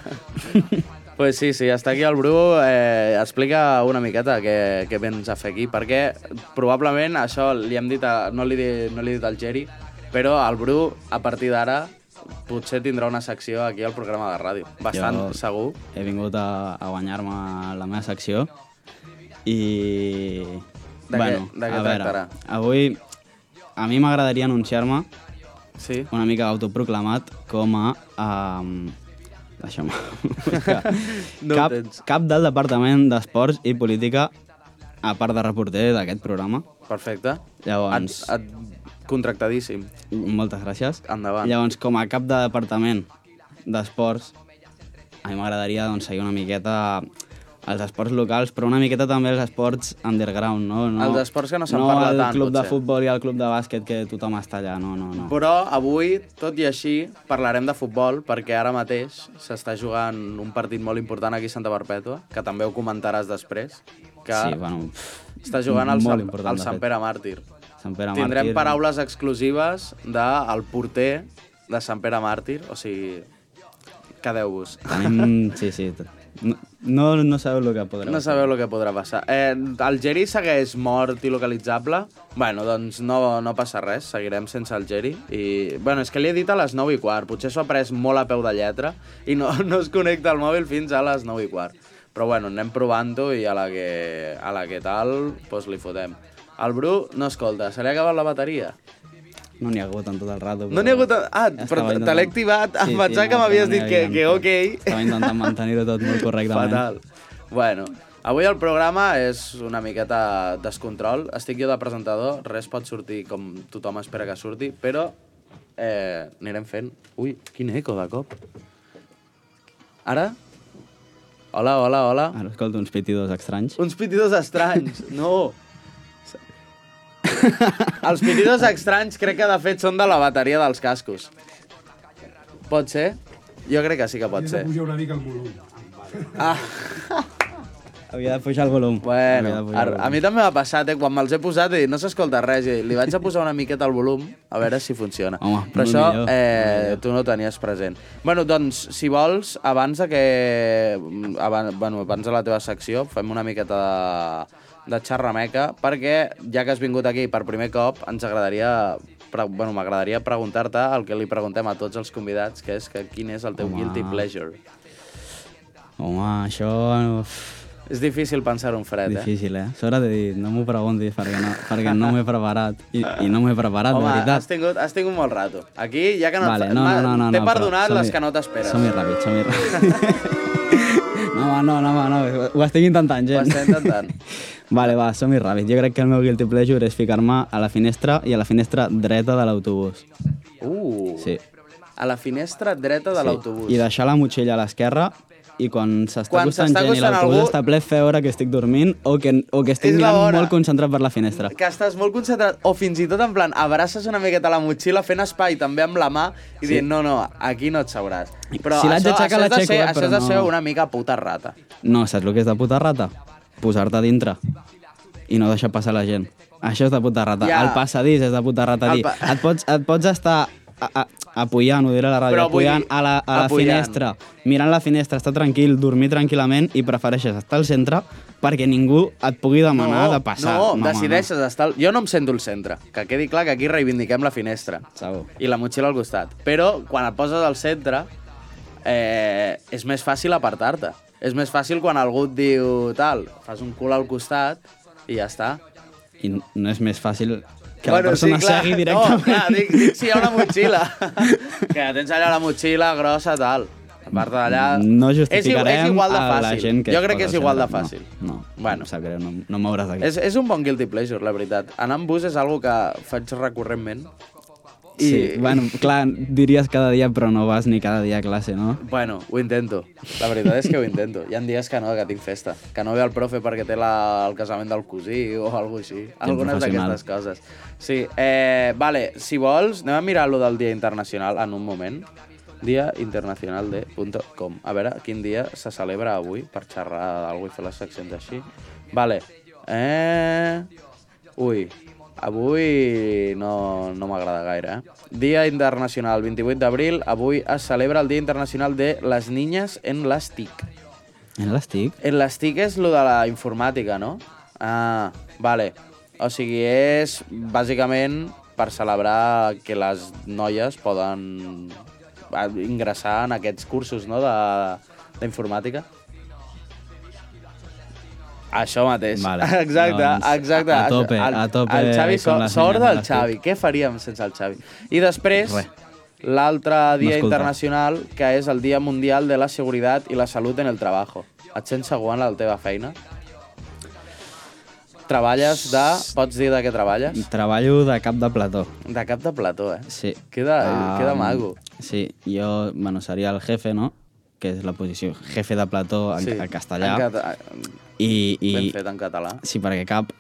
Pues sí, sí, està aquí el Bru. Eh, explica una miqueta què, què vens a fer aquí, perquè probablement això li hem dit a, no, li, di- no li he dit al Geri, però el Bru, a partir d'ara, potser tindrà una secció aquí al programa de ràdio. Bastant Jo- segur. he vingut a, a guanyar-me la meva secció i... De què- de què a tractarà? veure, avui a mi m'agradaria anunciar-me Sí. una mica autoproclamat com a... Um, Deixa'm... No ho cap, tens. cap del Departament d'Esports i Política, a part de reporter d'aquest programa. Perfecte. Llavors, Et, et, contractadíssim. moltes gràcies. Endavant. Llavors, com a cap de departament d'esports, a mi m'agradaria doncs, seguir una miqueta els esports locals, però una miqueta també els esports underground, no? no Els esports que no se'n no parla el tant, club de potser. futbol i el club de bàsquet que tothom està allà, no, no, no. Però avui, tot i així, parlarem de futbol perquè ara mateix s'està jugant un partit molt important aquí a Santa Perpètua, que també ho comentaràs després, que Sí, bueno, pff, està jugant al, molt Sant, important, al de Sant fet. Pere Màrtir. Sant Pere Tindrem Màrtir, paraules exclusives del porter de Sant Pere Màrtir, o sigui, quedeu-vos. Tenim... Sí, sí. t- No, no, no sabeu el que podrà No passar. sabeu el que podrà passar. Eh, el Geri segueix mort i localitzable. Bueno, doncs no, no passa res, seguirem sense el Geri. I, bueno, és que li he dit a les 9 i quart, potser s'ho ha pres molt a peu de lletra i no, no es connecta al mòbil fins a les 9 i quart. Però bueno, anem provant-ho i a la que, a la que tal, doncs li fotem. El Bru, no escolta, se li ha acabat la bateria. No n'hi ha hagut en tot el rato. No n'hi ha hagut... Ah, Estava però te intentant- l'he activat, em Sí, sí, pensava que no, m'havies no n'hi dit que, havia. que ok. Estava intentant mantenir-ho tot molt correctament. Fatal. Bueno, avui el programa és una miqueta descontrol. Estic jo de presentador, res pot sortir com tothom espera que surti, però eh, anirem fent... Ui, quin eco de cop. Ara? Hola, hola, hola. Ara escolto uns pitidos estranys. Uns pitidos estranys, no! Els pitidos estranys crec que de fet són de la bateria dels cascos. Pot ser? Jo crec que sí que pot ser. una mica el volum. Havia de pujar el volum. Havia de Bueno, pujar el a, a volum. mi també m'ha passat, eh? Quan me'ls he posat i no s'escolta res, i li vaig a posar una miqueta al volum, a veure si funciona. Home, Però molt això millor, molt eh, millor. tu no ho tenies present. Bueno, doncs, si vols, abans de que... Abans, bueno, abans de la teva secció, fem una miqueta de, de xerrameca, perquè ja que has vingut aquí per primer cop, ens agradaria... Pre bueno, m'agradaria preguntar-te el que li preguntem a tots els convidats, que és que quin és el teu Home. guilty pleasure. Home, això... uf, És difícil pensar un fred, eh? Difícil, eh? S'ho de dir, no m'ho preguntis perquè no, perquè no m'he preparat. I, I no m'he preparat, Home, de veritat. has tingut, has tingut molt rato. Aquí ja que no... Vale, no, no, no, no, T'he no, perdonat però som-hi- les que no t'esperes. Som-hi ràpid, som-hi ràpid. no, va, no, no, va, no, ho estic intentant, gent. Ho estem intentant. vale, va, som-hi ràpid. Jo crec que el meu guilty pleasure és ficar-me a la finestra i a la finestra dreta de l'autobús. Uh, Sí. a la finestra dreta de l'autobús. I deixar la motxilla a l'esquerra i quan s'està Quan acostant s'està gent i acostant l'autobús algú- està ple fer hora que estic dormint o que, o que estic És la mirant hora. molt concentrat per la finestra. Que estàs molt concentrat, o fins i tot en plan, abraces una miqueta la motxilla fent espai també amb la mà i sí. dient, no, no, aquí no et sabràs. Però Si l'haig això, això, d'aixecar, és de l'aixeco, ser, eh, això és però de ser no. una mica puta rata. No, saps el que és de puta rata? Posar-te a dintre i no deixar passar la gent. Això és de puta rata. Ja. Yeah. El passadís és de puta rata. El Dir. pa- Et, pots, et pots estar a, a, apujant, ho diré a la ràdio, Però vull apujant dir, a la, a la apujant. finestra, mirant la finestra, estar tranquil, dormir tranquil·lament i prefereixes estar al centre perquè ningú et pugui demanar de passar. no, Mamà, decideixes estar... Jo no em sento al centre, que quedi clar que aquí reivindiquem la finestra. Segur. I la motxilla al costat. Però quan et poses al centre, eh, és més fàcil apartar-te. És més fàcil quan algú et diu tal, fas un cul al costat i ja està. I no és més fàcil que la persona clar, segui directament. No, clar, dic, dic, sí, hi ha una motxilla. que la tens allà la motxilla grossa, tal. A part d'allà... No és, justificarem i- és igual de a fàcil. la gent que... jo es crec que posa és igual de al fàcil. centre. No, no, Bueno. bueno. em sap greu, no, no m'obre d'aquí. És, és un bon guilty pleasure, la veritat. Anar amb bus és algo que faig recurrentment. I, Sí, bueno, clar, diries cada dia, però no vas ni cada dia a classe, no? bueno, ho intento. La veritat és que ho intento. Hi ha dies que no, que tinc festa. Que no ve el profe perquè té la, el casament del cosí o alguna així. Algunes professional. d'aquestes coses. Sí, eh, vale, si vols, anem a mirar lo del Dia Internacional en un moment. Dia Internacional de punto com. A veure quin dia se celebra avui per xerrar d'algú i fer les seccions així. Vale. Eh... Ui, avui no, no m'agrada gaire. Eh? Dia Internacional, 28 d'abril. Avui es celebra el Dia Internacional de les Niñas en les TIC. En l'estic? En les TIC és lo de la informàtica, no? Ah, vale. O sigui, és bàsicament per celebrar que les noies poden ah, ingressar en aquests cursos no? de- d'informàtica. Això mateix. Vale. Exacte, Doncs, exacte. a tope, El- a tope El Xavi, con so- les sort nenes de del les TIC. Xavi. Què faríem sense el Xavi? I després, Res. l'altre dia escolta. internacional, que és el Dia Mundial de la Seguretat i la Salut en el Trabajo. Et sents segur en la teva feina? Treballes de... Pots dir de què treballes? Treballo de cap de plató. De cap de plató, eh? Sí. Ah, Queda- queda Am, maco. Sí, jo, bueno, seria el jefe, no? Que és la posició jefe de plató en, en castellà. En cata... I, i, Ben fet en català. Sí, perquè cap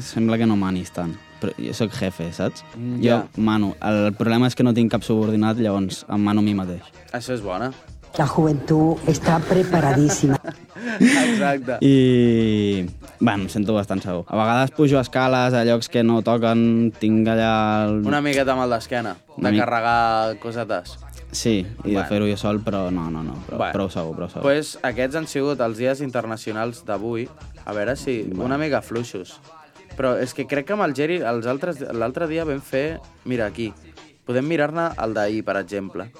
sembla que no manis tant. Però jo sóc jefe, saps? Mm, jo ja. mano. El problema és que no tinc cap subordinat, llavors em mano a mi mateix. Això és bona. La juventud está preparadísima. Exacte. I, bueno, em sento bastant segur. A vegades pujo escales a llocs que no toquen, tinc allà... El... Una miqueta mal d'esquena, Una de mi- carregar cosetes. Sí, i Bueno. de fer-ho jo sol, però no, no, no, però, Bueno. prou segur, prou segur. pues aquests han sigut els dies internacionals d'avui. A veure si... Una mica fluixos. Però és que crec que amb el Geri els altres- l'altre dia vam fer... Mira, aquí. Podem mirar-ne el d'ahir, per exemple.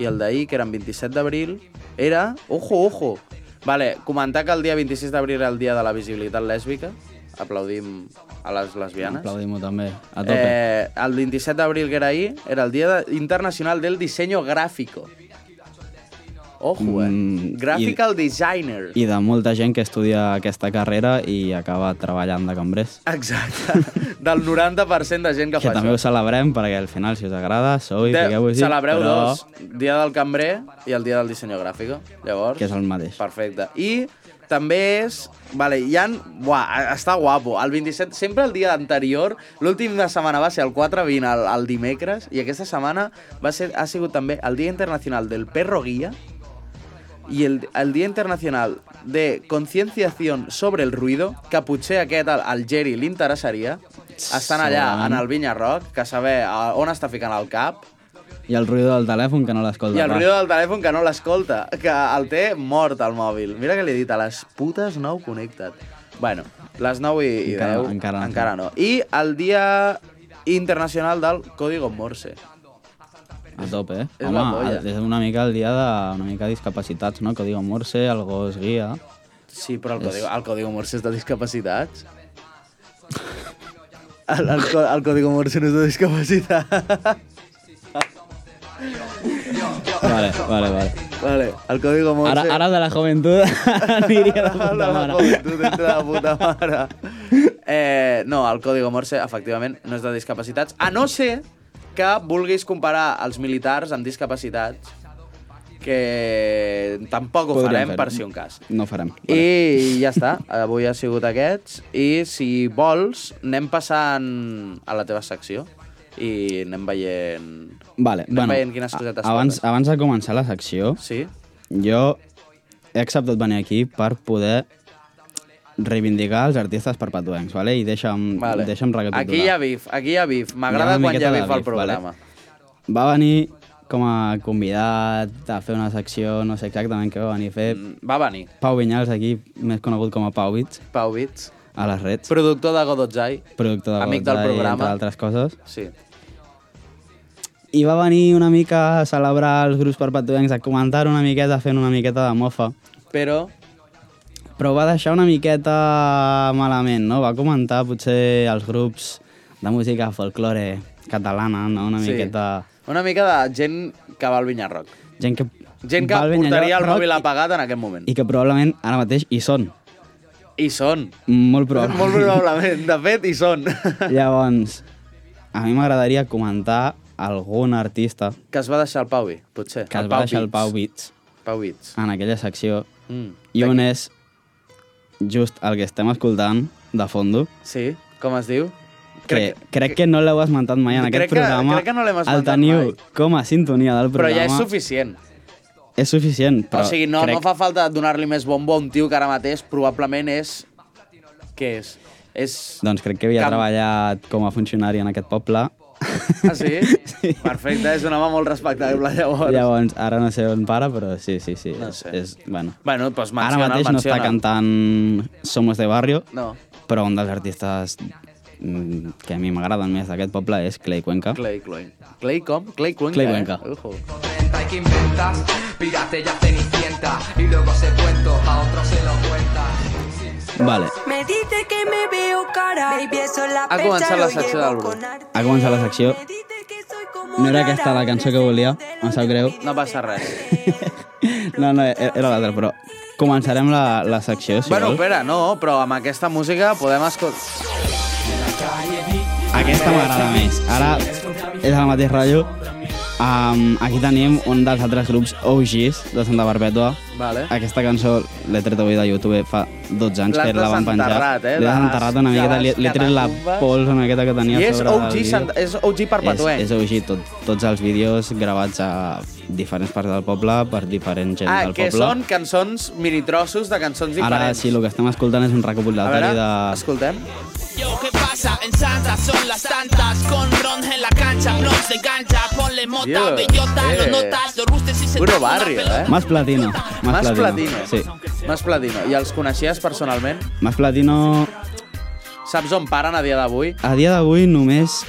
I el d'ahir, que era el 27 d'abril, era... Ojo, ojo! Vale, comentar que el dia 26 d'abril era el dia de la visibilitat lèsbica. Aplaudim a les lesbianes. Aplaudim-ho també, a tope. Eh... Eh, el 27 d'abril, que era ahir, era el Dia de- Internacional del Diseño Gráfico. Ojo, eh? Mm, Graphical Designer. I de molta gent que estudia aquesta carrera i acaba treballant de cambrers. Exacte. Del 90% de gent que, Que fa també ho això. celebrem, perquè al final, si us agrada, sou i De, fiqueu-vos-hi. celebreu però... dos, Dia del Cambrer i el Dia del Diseño Gráfico. Llavors... Que és el mateix. Perfecte. I també és... Vale, hi ha... Buah, està guapo. El 27, sempre el dia anterior, l'últim de setmana va ser el 4-20, el, el dimecres, i aquesta setmana va ser, ha sigut també el Dia Internacional del Perro Guia i el, el Dia Internacional de Concienciación sobre el Ruido, que potser aquest al, al Geri li interessaria. Estan allà, en Segurament. el Vinyarroc, que saber a- on està ficant el cap, I el ruïdo del telèfon, que no l'escolta. i el pas. ruïdo del telèfon que no l'escolta, que el té mort al mòbil. Mira que li he dit a les putes 9 connecta't. Bueno, les 9 i, i Encara no, 10 encara no. encara no. I el dia internacional del Código Morse. A tope, eh? És Home, la polla. el- és una mica el dia de una mica discapacitats, no? Que diuen Morse, el gos guia... Sí, però el Código, el Código Morse és de discapacitats. El, el, co- el Código Morse no és de discapacitat. Vale, vale, vale. Vale, el Código Morse... Ara, ara el de la joventut aniria de El de puta la mare. joventut eh? entra de puta mare. Eh, no, el Código Morse, efectivament, no és de discapacitats, a no ser que vulguis comparar els militars amb discapacitats, que tampoc ho Podríem farem fer-ho. per si un cas. No ho farem. I ja està, avui ha sigut aquests. I si vols, anem passant a la teva secció i anem veient... Vale, anem bueno, veient quines cosetes abans, toques. abans de començar la secció, Sí? jo he acceptat venir aquí per poder reivindicar els artistes perpetuencs, vale? i deixa'm, Vale. deixa'm recapitular. Aquí hi ha bif, aquí hi ha bif. Hi ha M'agrada quan una hi miqueta ha de bif al bif, programa. Va venir com a convidat a fer una secció, no sé exactament què va venir a fer, Mm, Va venir, Pau Vinyals, aquí més conegut com a Pauwitz, Pau Bits. a les reds, Productor de Godotzai. productor de amic del Godzai, programa. entre altres coses. Sí. I va venir una mica a celebrar els grups perpetuencs, a comentar una miqueta, fent una miqueta de mofa. Però Però ho va deixar una miqueta malament, no? Va comentar potser els grups de música folklore catalana, no? Una Sí. miqueta... una mica de gent que va al Vinyarroc. Gent que, Gent que va al portaria el Vinyarroc mòbil apagat en aquest moment. I I, que probablement ara mateix hi són. I són. Molt probablement. Molt probablement. De fet, hi són. Llavors, a mi m'agradaria comentar algun artista que es va deixar el Pauvi, potser. que el es va deixar el Bits. Pau Bits Pau Bits. en aquella secció Mm. i un és just el que estem escoltant de fondo Sí, com es diu? que crec que no l'heu esmentat mai en Crec aquest que- programa. crec que no l'hem El esmentat teniu mai. com a sintonia del Però programa. ja és suficient. És suficient, Però però o sigui, no, crec... no fa falta donar-li més bombo a un tio que ara mateix probablement és... Què és? És... Doncs crec que havia Cam- treballat com a funcionari en aquest poble. Ah, sí? sí? Perfecte, és un home molt respectable, llavors. Llavors, ara no sé on para, però sí, sí, sí. No és, sé. és, bueno. Bueno, doncs Ara menciona, mateix no menciona. està cantant Somos de Barrio, No, però un dels artistes mm, que a mi m'agraden més d'aquest poble és Clay Cuenca. Clay Cuenca. Clay com? Clay Cuenca. Clay Cuenca. eh? Ojo. Hay que inventas, pirate ya cenicienta Y luego se cuento, a otro se lo cuenta Vale, Me dice que me veo cara, baby, eso la Ha començat la secció del Bru. ha començat la secció. No era aquesta la cançó que volia, em sap greu. No passa res. No, no, e- era l'altra, però començarem la, la secció, si bueno, vols. espera, no, però amb aquesta música podem escoltar... Aquesta m'agrada més. Ara és el mateix rotllo. Um, aquí tenim un dels altres grups OGs de Santa Barbètua. Vale. Aquesta cançó l'he tret avui de YouTube fa 12 anys L'has que la van penjar. desenterrat, eh, de L'he les- desenterrat una de miqueta, li, les li he tret la catacumbes. pols una miqueta que tenia I és sobre del OG, vídeo. Sant- és eh? OG perpetuenc. És, és OG, tot, tots els vídeos gravats a diferents parts del poble per diferent gent Ah, del que poble. són cançons, minitrossos de cançons diferents. Ara sí, el que estem escoltant és un A recopilatori veure, de... escoltem. Yo, ¿qué pasa? En Santa son las tantas Con ron en la cancha, blondes de gancha Ponle mota, Dios, bellota, eh. lo notas Los rustes y se Puro tapa una barrio, pelota. eh? Más Platino. Más, Mas Platino. Sí. Mas Platino. I els coneixies personalment? Más Platino Saps on paren a dia d'avui? A dia d'avui només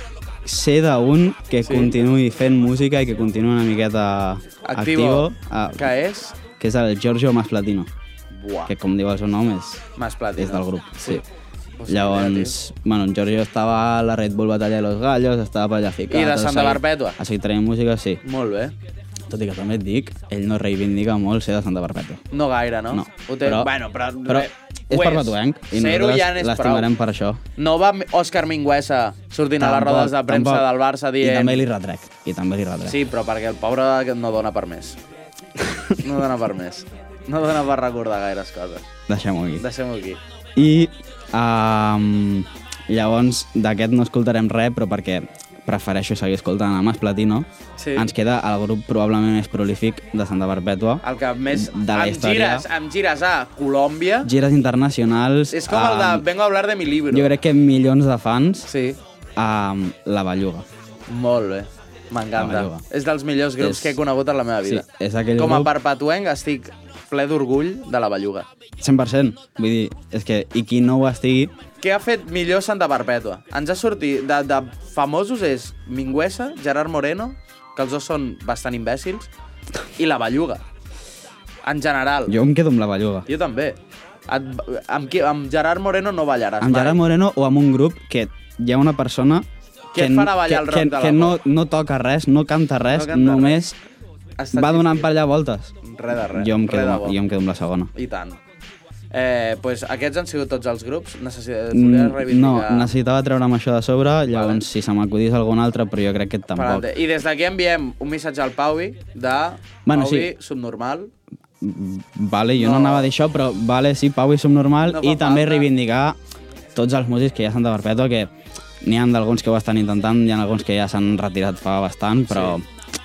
sé d'un que Sí. sí. continuï fent música i que continuï una miqueta Activo. activo, ah, Que és? que és el Giorgio Masplatino, Buah, que com diu el seu nom és, Mas Platino. és del grup. Sí. Pues sí, Llavors, bueno, en Giorgio estava a la Red Bull Batalla de los Gallos, estava per allà ficat. I de o Santa sigui, Perpètua. O sigui, traient música, sí. Molt bé. Tot i que també et dic, ell no reivindica molt ser de Santa Perpètua. No gaire, no? Ho té... però, bueno, però... però re- és ho per Batuenc i Zero ja nosaltres n'és l'estimarem prou. per això. No va Òscar Minguesa sortint a les rodes de premsa tampoc. del Barça dient... I també li retrec, i també li retrec. Sí, però perquè el pobre no dona per més. No dona per més. No dona per recordar gaires coses. Deixem-ho aquí. Deixem-ho aquí. I um, llavors d'aquest no escoltarem res, però perquè prefereixo seguir escoltant a Mas Platino. Sí. Ens queda el grup probablement més prolífic de Santa Perpètua. El que més... De la em història. gires, em gires a Colòmbia. Gires internacionals. És com el de amb- Vengo a hablar de mi libro. Jo crec que milions de fans Sí, amb La Belluga. molt bé. La M'encanta. belluga. És dels millors grups És- que he conegut en la meva vida. Sí, és aquell Com a grup- perpetuenc estic ple d'orgull de la belluga. 100%. Vull dir, és que i qui no ho estigui, Què ha fet millor Santa Perpètua? Ens ha sortit de, de famosos és Minguesa, Gerard Moreno, que els dos són bastant imbècils, i la Belluga. En general. jo em quedo amb La Belluga. jo també. Et, amb, qui, amb Gerard Moreno no ballaràs Amb Gerard Moreno o amb un grup que hi ha una persona Que et n- farà ballar que, el rock que, de la que no, no toca res, no canta res, No canta no canta només Està va donant per allà voltes. Re de re, Jo em re de quedo, bo. amb- jo em quedo amb la segona. I tant. Eh, pues aquests han sigut tots els grups. Necessit... Mm, Volies No, reivindicar... necessitava treure'm això de sobre, llavors si se m'acudís algun altre, però jo crec que per tampoc. ante- I des d'aquí enviem un missatge al Pauvi de Bueno, Pauvi sí. subnormal. Mm, Vale, jo No. no, anava a dir això, però vale, sí, Pau i Subnormal, No fa i també falta. reivindicar tots els músics que ja s'han de perpètua, que n'hi ha d'alguns que ho estan intentant, hi ha alguns que ja s'han retirat fa bastant, però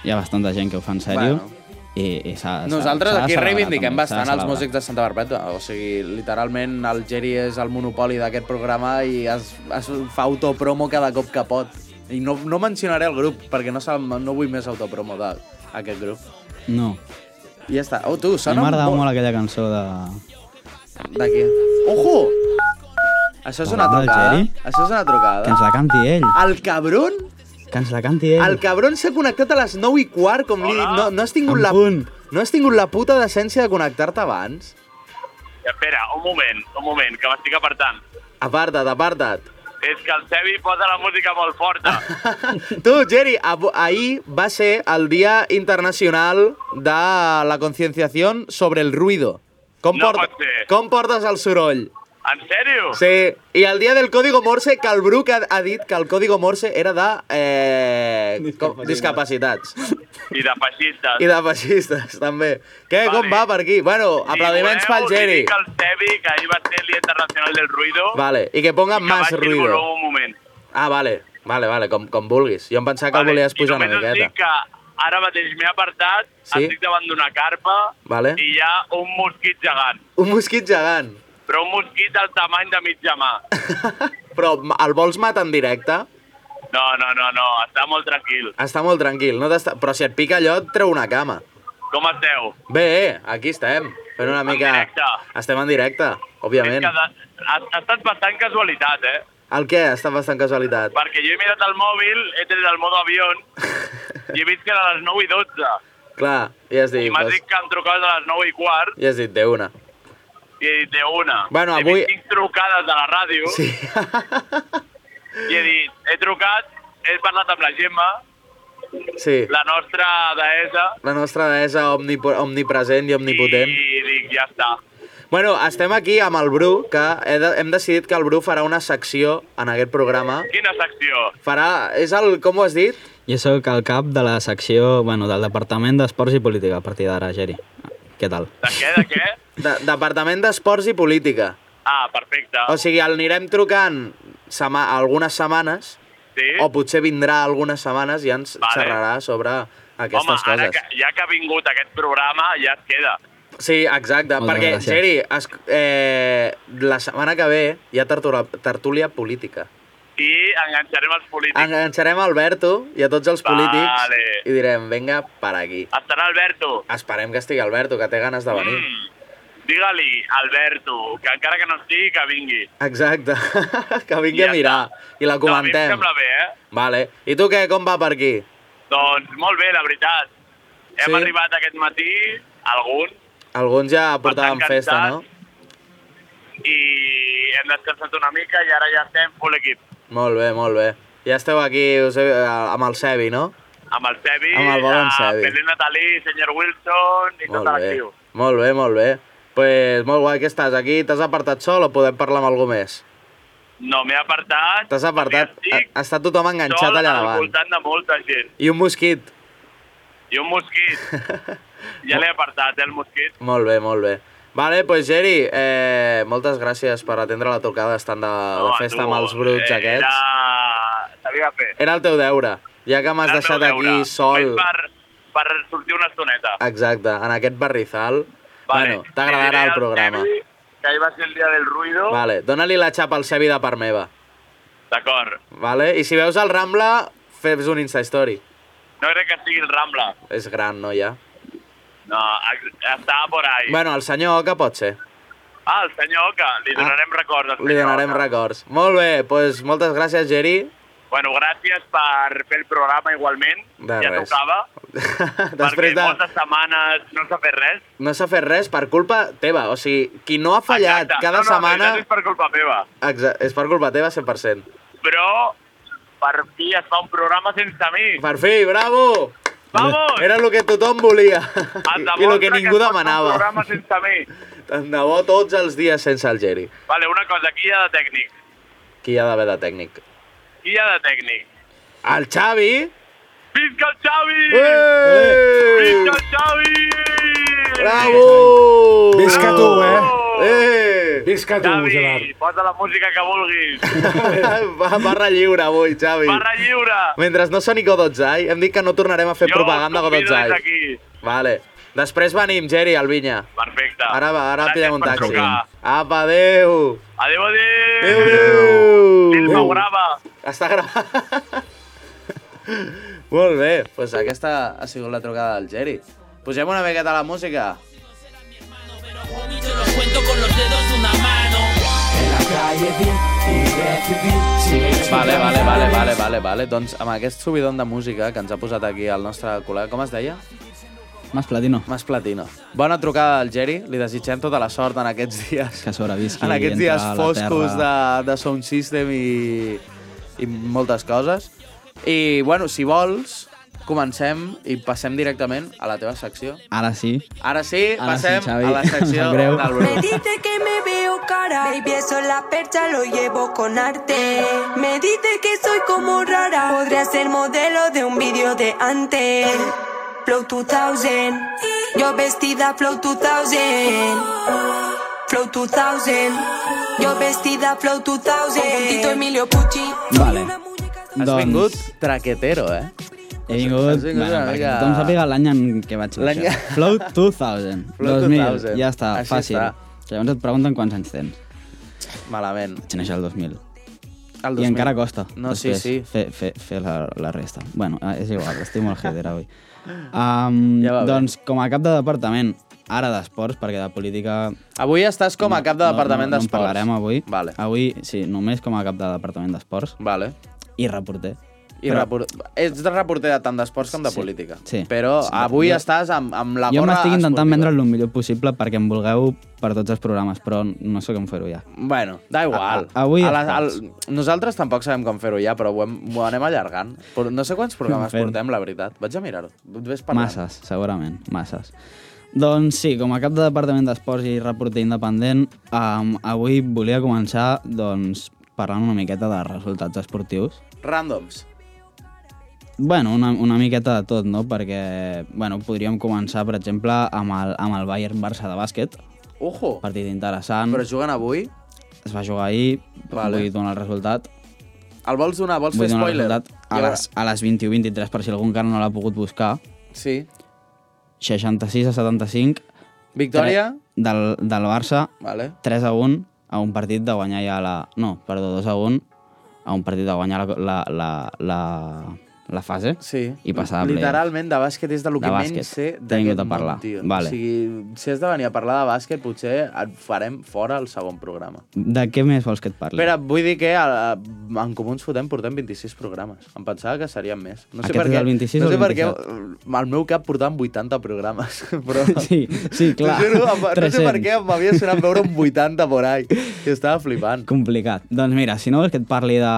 hi ha bastanta gent que ho fa en sèrio. Bueno. I, i s'ha- s'ha- Nosaltres s'ha de aquí celebrar, reivindiquem també, s'ha de bastant els celebrar. músics de Santa Barbeta. O sigui, literalment el Geri és el monopoli d'aquest programa i es, es fa autopromo cada cop que pot. I no, no mencionaré el grup, perquè no, se- no vull més autopromo d'aquest grup. No, I ja està. Oh, tu, a mi sona... m'agradava molt- molt aquella cançó de... D'aquí. Ojo! Això és una Parlant del trucada. eh? Geri? Això és una trucada. Que ens la canti ell, El cabrón, que ens la canti ell. el cabrón s'ha connectat a les 9 i quart, com li he dit. No, no has tingut En la... punt. No has tingut la puta decència de connectar-te abans. Espera, un moment, un moment, que m'estic apartant. Aparta't, aparta't. És que el Sebi posa la música molt forta. Tu, Jerry, ab- ahir va ser el Dia Internacional de la Conscienciació sobre el Ruido. Com, No porta- pot ser. com portes el soroll? En sèrio? Sí, i el dia del Código Morse, que el Bruc ha, ha dit que el Código Morse era de eh, com, discapacitats. I de feixistes. I de feixistes, també. Què, vale. com va per aquí? Bueno, Si aplaudiments voleu, pel Jerry. us dic el Sebi, que ahir va ser el Dia Internacional del Ruido. Vale, i que pongan más baixi el volum ruido. un moment. Ah, vale, vale, vale, com, com vulguis. Jo em pensava que el volies I pujar una només us miqueta. dic que ara mateix m'he apartat, Sí? estic davant d'una carpa Vale. i hi ha un mosquit gegant. Un mosquit gegant. Però un mosquit del tamany de mitja mà. Però el vols matar en directe? No, no, no, no, està molt tranquil. Està molt tranquil, no t'està- però si et pica allò et treu una cama. Com esteu? Bé, eh, aquí estem, fent una mica... directe. Estem en directe, És òbviament. que de, ha, ha estat bastant casualitat, eh? El què? Està bastant casualitat. Perquè jo he mirat el mòbil, he tret el modo avión i he vist que era a les 9 i 12. Clar, ja has dit, I m'has pues, dit que em trucaves a les 9 i quart ja has dit de una. i he dit de una. Bueno, he avui- vist cinc trucades de la ràdio Sí. i he dit, he trucat, he parlat amb la Gemma, Sí, la nostra deessa, la nostra deessa omnipo- omnipresent i omnipotent. i dic, ja està. Bueno, estem aquí amb el Bru, que he de, hem decidit que el Bru farà una secció en aquest programa. Quina secció? Farà... És el... Com ho has dit? Jo sóc el cap de la secció, bueno, del Departament d'Esports i Política a partir d'ara, Geri. Què tal? De què, de què? De, Departament d'Esports i Política. Ah, perfecte. O sigui, el anirem trucant sema, algunes setmanes, Sí? o potser vindrà algunes setmanes i ens Vale. vale. xerrarà sobre Home, aquestes ara coses. que, ja que ha vingut aquest programa, ja es queda. Sí, exacte, Moltes perquè, gràcies. Geri, es, eh, la setmana que ve hi ha tertúlia, tertúlia política. I enganxarem els polítics. Enganxarem a Alberto i a tots els polítics Vale. i direm, vinga, per aquí. Estarà Alberto. Esperem que estigui Alberto, que té ganes de venir. Mm. Digue-li, Alberto, que encara que no estigui, que vingui. Exacte, que vingui Ja a mirar i la No, a mi em comentem. sembla bé, eh? Vale. I tu què, com va per aquí? Doncs molt bé, la veritat. Hem Sí? arribat aquest matí, alguns, Alguns ja portaven Bastant festa, no? cansats. i hem descansat una mica i ara ja estem full equip. Molt bé, molt bé. Ja esteu aquí us he, eh, amb el Sebi, no? Amb el Sebi, eh, Amb el bon Sebi. Belén Natalí, senyor Wilson i tot Molt bé. l'actiu. Molt bé, molt bé. pues, molt guai que estàs aquí. T'has apartat sol o podem parlar amb algú més? No, m'he apartat. T'has apartat. perquè Ha, estic ha estat tothom enganxat sol allà al davant. voltant de molta gent. I un mosquit. I un mosquit. ja l'he apartat, eh, el mosquit. Molt bé, molt bé. Vale, pues Geri, eh, moltes gràcies per atendre la tocada estant de, de Home, festa tu, amb els bruts eh, aquests. Era... S'havia de fer. Era el teu deure, ja que m'has Era el deixat meu aquí deure. sol. Vaig Per, per sortir una estoneta. Exacte, en aquest barrizal. Vale. Bueno, t'agradarà Li diré el al programa. Sebi Que ahir va ser el dia del ruido. Vale, dóna-li la xapa al Sebi de part meva. D'acord. Vale? I si veus el Rambla, fes un Insta Story. No crec que sigui el Rambla. És gran, no, ja? No, ex- està por ahí. Bueno, el senyor Oca pot ser. Ah, el senyor Oca. Li donarem records. al Li senyor donarem Oca. records. Molt bé, doncs moltes gràcies, Geri. Bueno, gràcies per fer el programa igualment. De ja res. tocava, Després perquè de... moltes setmanes no s'ha fet res. No s'ha fet res per culpa teva. O sigui, qui no ha fallat Exacte. cada no, no, en setmana... realitat És per culpa meva. Exa és per culpa teva 100%. Però per fi es fa un programa sense mi. Per fi, bravo! Vamos! Era el que tothom volia. I el que demostra ningú es pot fer Un demanava. programa sense mi. Tant de bo tots els dies sense el Geri. Vale, una cosa, aquí hi ha de tècnic. Qui hi ha d'haver de tècnic? Qui hi ha de tècnic? El Xavi? Visca el Xavi! Eh! Visca el Xavi! Bravo! Visca tu, eh? Eh! Visca tu, Xavi, Gerard. posa la música que vulguis. Va, barra lliure avui, Xavi. Barra lliure! Mentre no soni Godotzai, hem dit que no tornarem a fer propaganda us convido Godotzai. des d'aquí. Vale. Després venim, Geri, al Vinya. Perfecte. Ara, va, ara Gràcies pillem un per taxi. trucar. Apa, adeu! Adéu, adéu! Adéu, adéu! Filma, grava! Està gravat. Molt bé, doncs pues aquesta ha sigut la trucada del Geri. Posem una miqueta la música. Vale, vale, vale, vale, vale, vale. Doncs amb aquest subidon de música que ens ha posat aquí el nostre col·lega, com es deia? Mas Platino. Mas Platino. Bona trucada al Geri, li desitgem tota la sort en aquests dies. Que sobrevisqui. en aquests entre dies la foscos terra. de, de Sound System i, i moltes coses. I, bueno, si vols, comencem i passem directament a la teva secció. Ara sí. Ara sí, Ara sí, passem Xavi. a la Em secció sap greu. del Bruno. Me dice que me veo cara, baby, eso la percha lo llevo con arte. Me dice que soy como rara, podría ser modelo de un vídeo de antes. Flow 2000, yo vestida Flow 2000. Flow 2000, yo vestida Flow 2000. Con Tito Emilio Pucci. Vale. Has Doncs- vingut traquetero, eh? He vingut... Has vingut Has una vingut bueno, perquè mica- tothom sàpiga l'any en què vaig L'any- néixer. Float 2000. Float 2000. 2000. Ja està, Així fàcil. està. Que Llavors et pregunten quants anys tens. Malament. Vaig néixer el 2000. El I 2000. encara costa. No, sí, després, sí. Fer, fer, fer la, la resta. Bueno, eh, és igual, estic molt hater avui. Um, ja doncs, com a cap de departament, ara d'esports, perquè de política... Avui estàs com a cap de departament no, no, d'esports. No en parlarem avui. Vale. Avui, sí, només com a cap de departament d'esports. Vale. I reporter. I Però- repor... Ets de reporter de tant d'esports com de Sí, política. sí. Però Sí, avui jo- estàs amb, amb la jo gorra... m'estic intentant esportiva. vendre el millor possible perquè em vulgueu per tots els programes, però no sé com fer-ho ja. Bueno, da igual. A- a- avui a la, al, esports. nosaltres tampoc sabem com fer-ho ja, però ho, hem, ho anem allargant. Però No sé quants programes Fent. portem, la veritat. Vaig a mirar-ho. Ves parlant. Masses, segurament, masses. Doncs sí, com a cap de Departament d'Esports i reporter independent, um, avui volia començar doncs, parlant una miqueta de resultats esportius. Randoms. Bueno, una, una miqueta de tot, no? Perquè, bueno, podríem començar, per exemple, amb el, amb el Bayern-Barça de bàsquet. Ojo! Partit interessant. Però juguen avui? Es va jugar ahir, Vale. vale. vull donar el resultat. El vols donar? Vols Vull fer donar el spoiler? resultat a I ara- les, a les 21-23, per si algú encara no l'ha pogut buscar. Sí. 66 a 75. Victòria? Tre- Del, del Barça, Vale. 3 a 1 a un partit de guanyar ja la... No, perdó, 2 a 1 a un partit de guanyar la, la, la, la, la fase sí. i passar a playoff. Literalment, de bàsquet és de lo De que bàsquet. menys sé T'he d'aquest vingut a món, parlar. tio. Vale. O sigui, si has de venir a parlar de bàsquet, potser et farem fora el segon programa. De què més vols que et parli? Espera, vull dir que a, en Comú ens fotem portem 26 programes. Em pensava que serien més. No sé Aquest per és què, el 26 no o sé el per què eh, al meu cap portaven 80 programes. Però... Sí, sí, clar. T'ho Juro, em- no sé per 300. què em havia sonat veure un 80 por ahí. I estava flipant. Complicat. Doncs mira, si no vols que et parli de...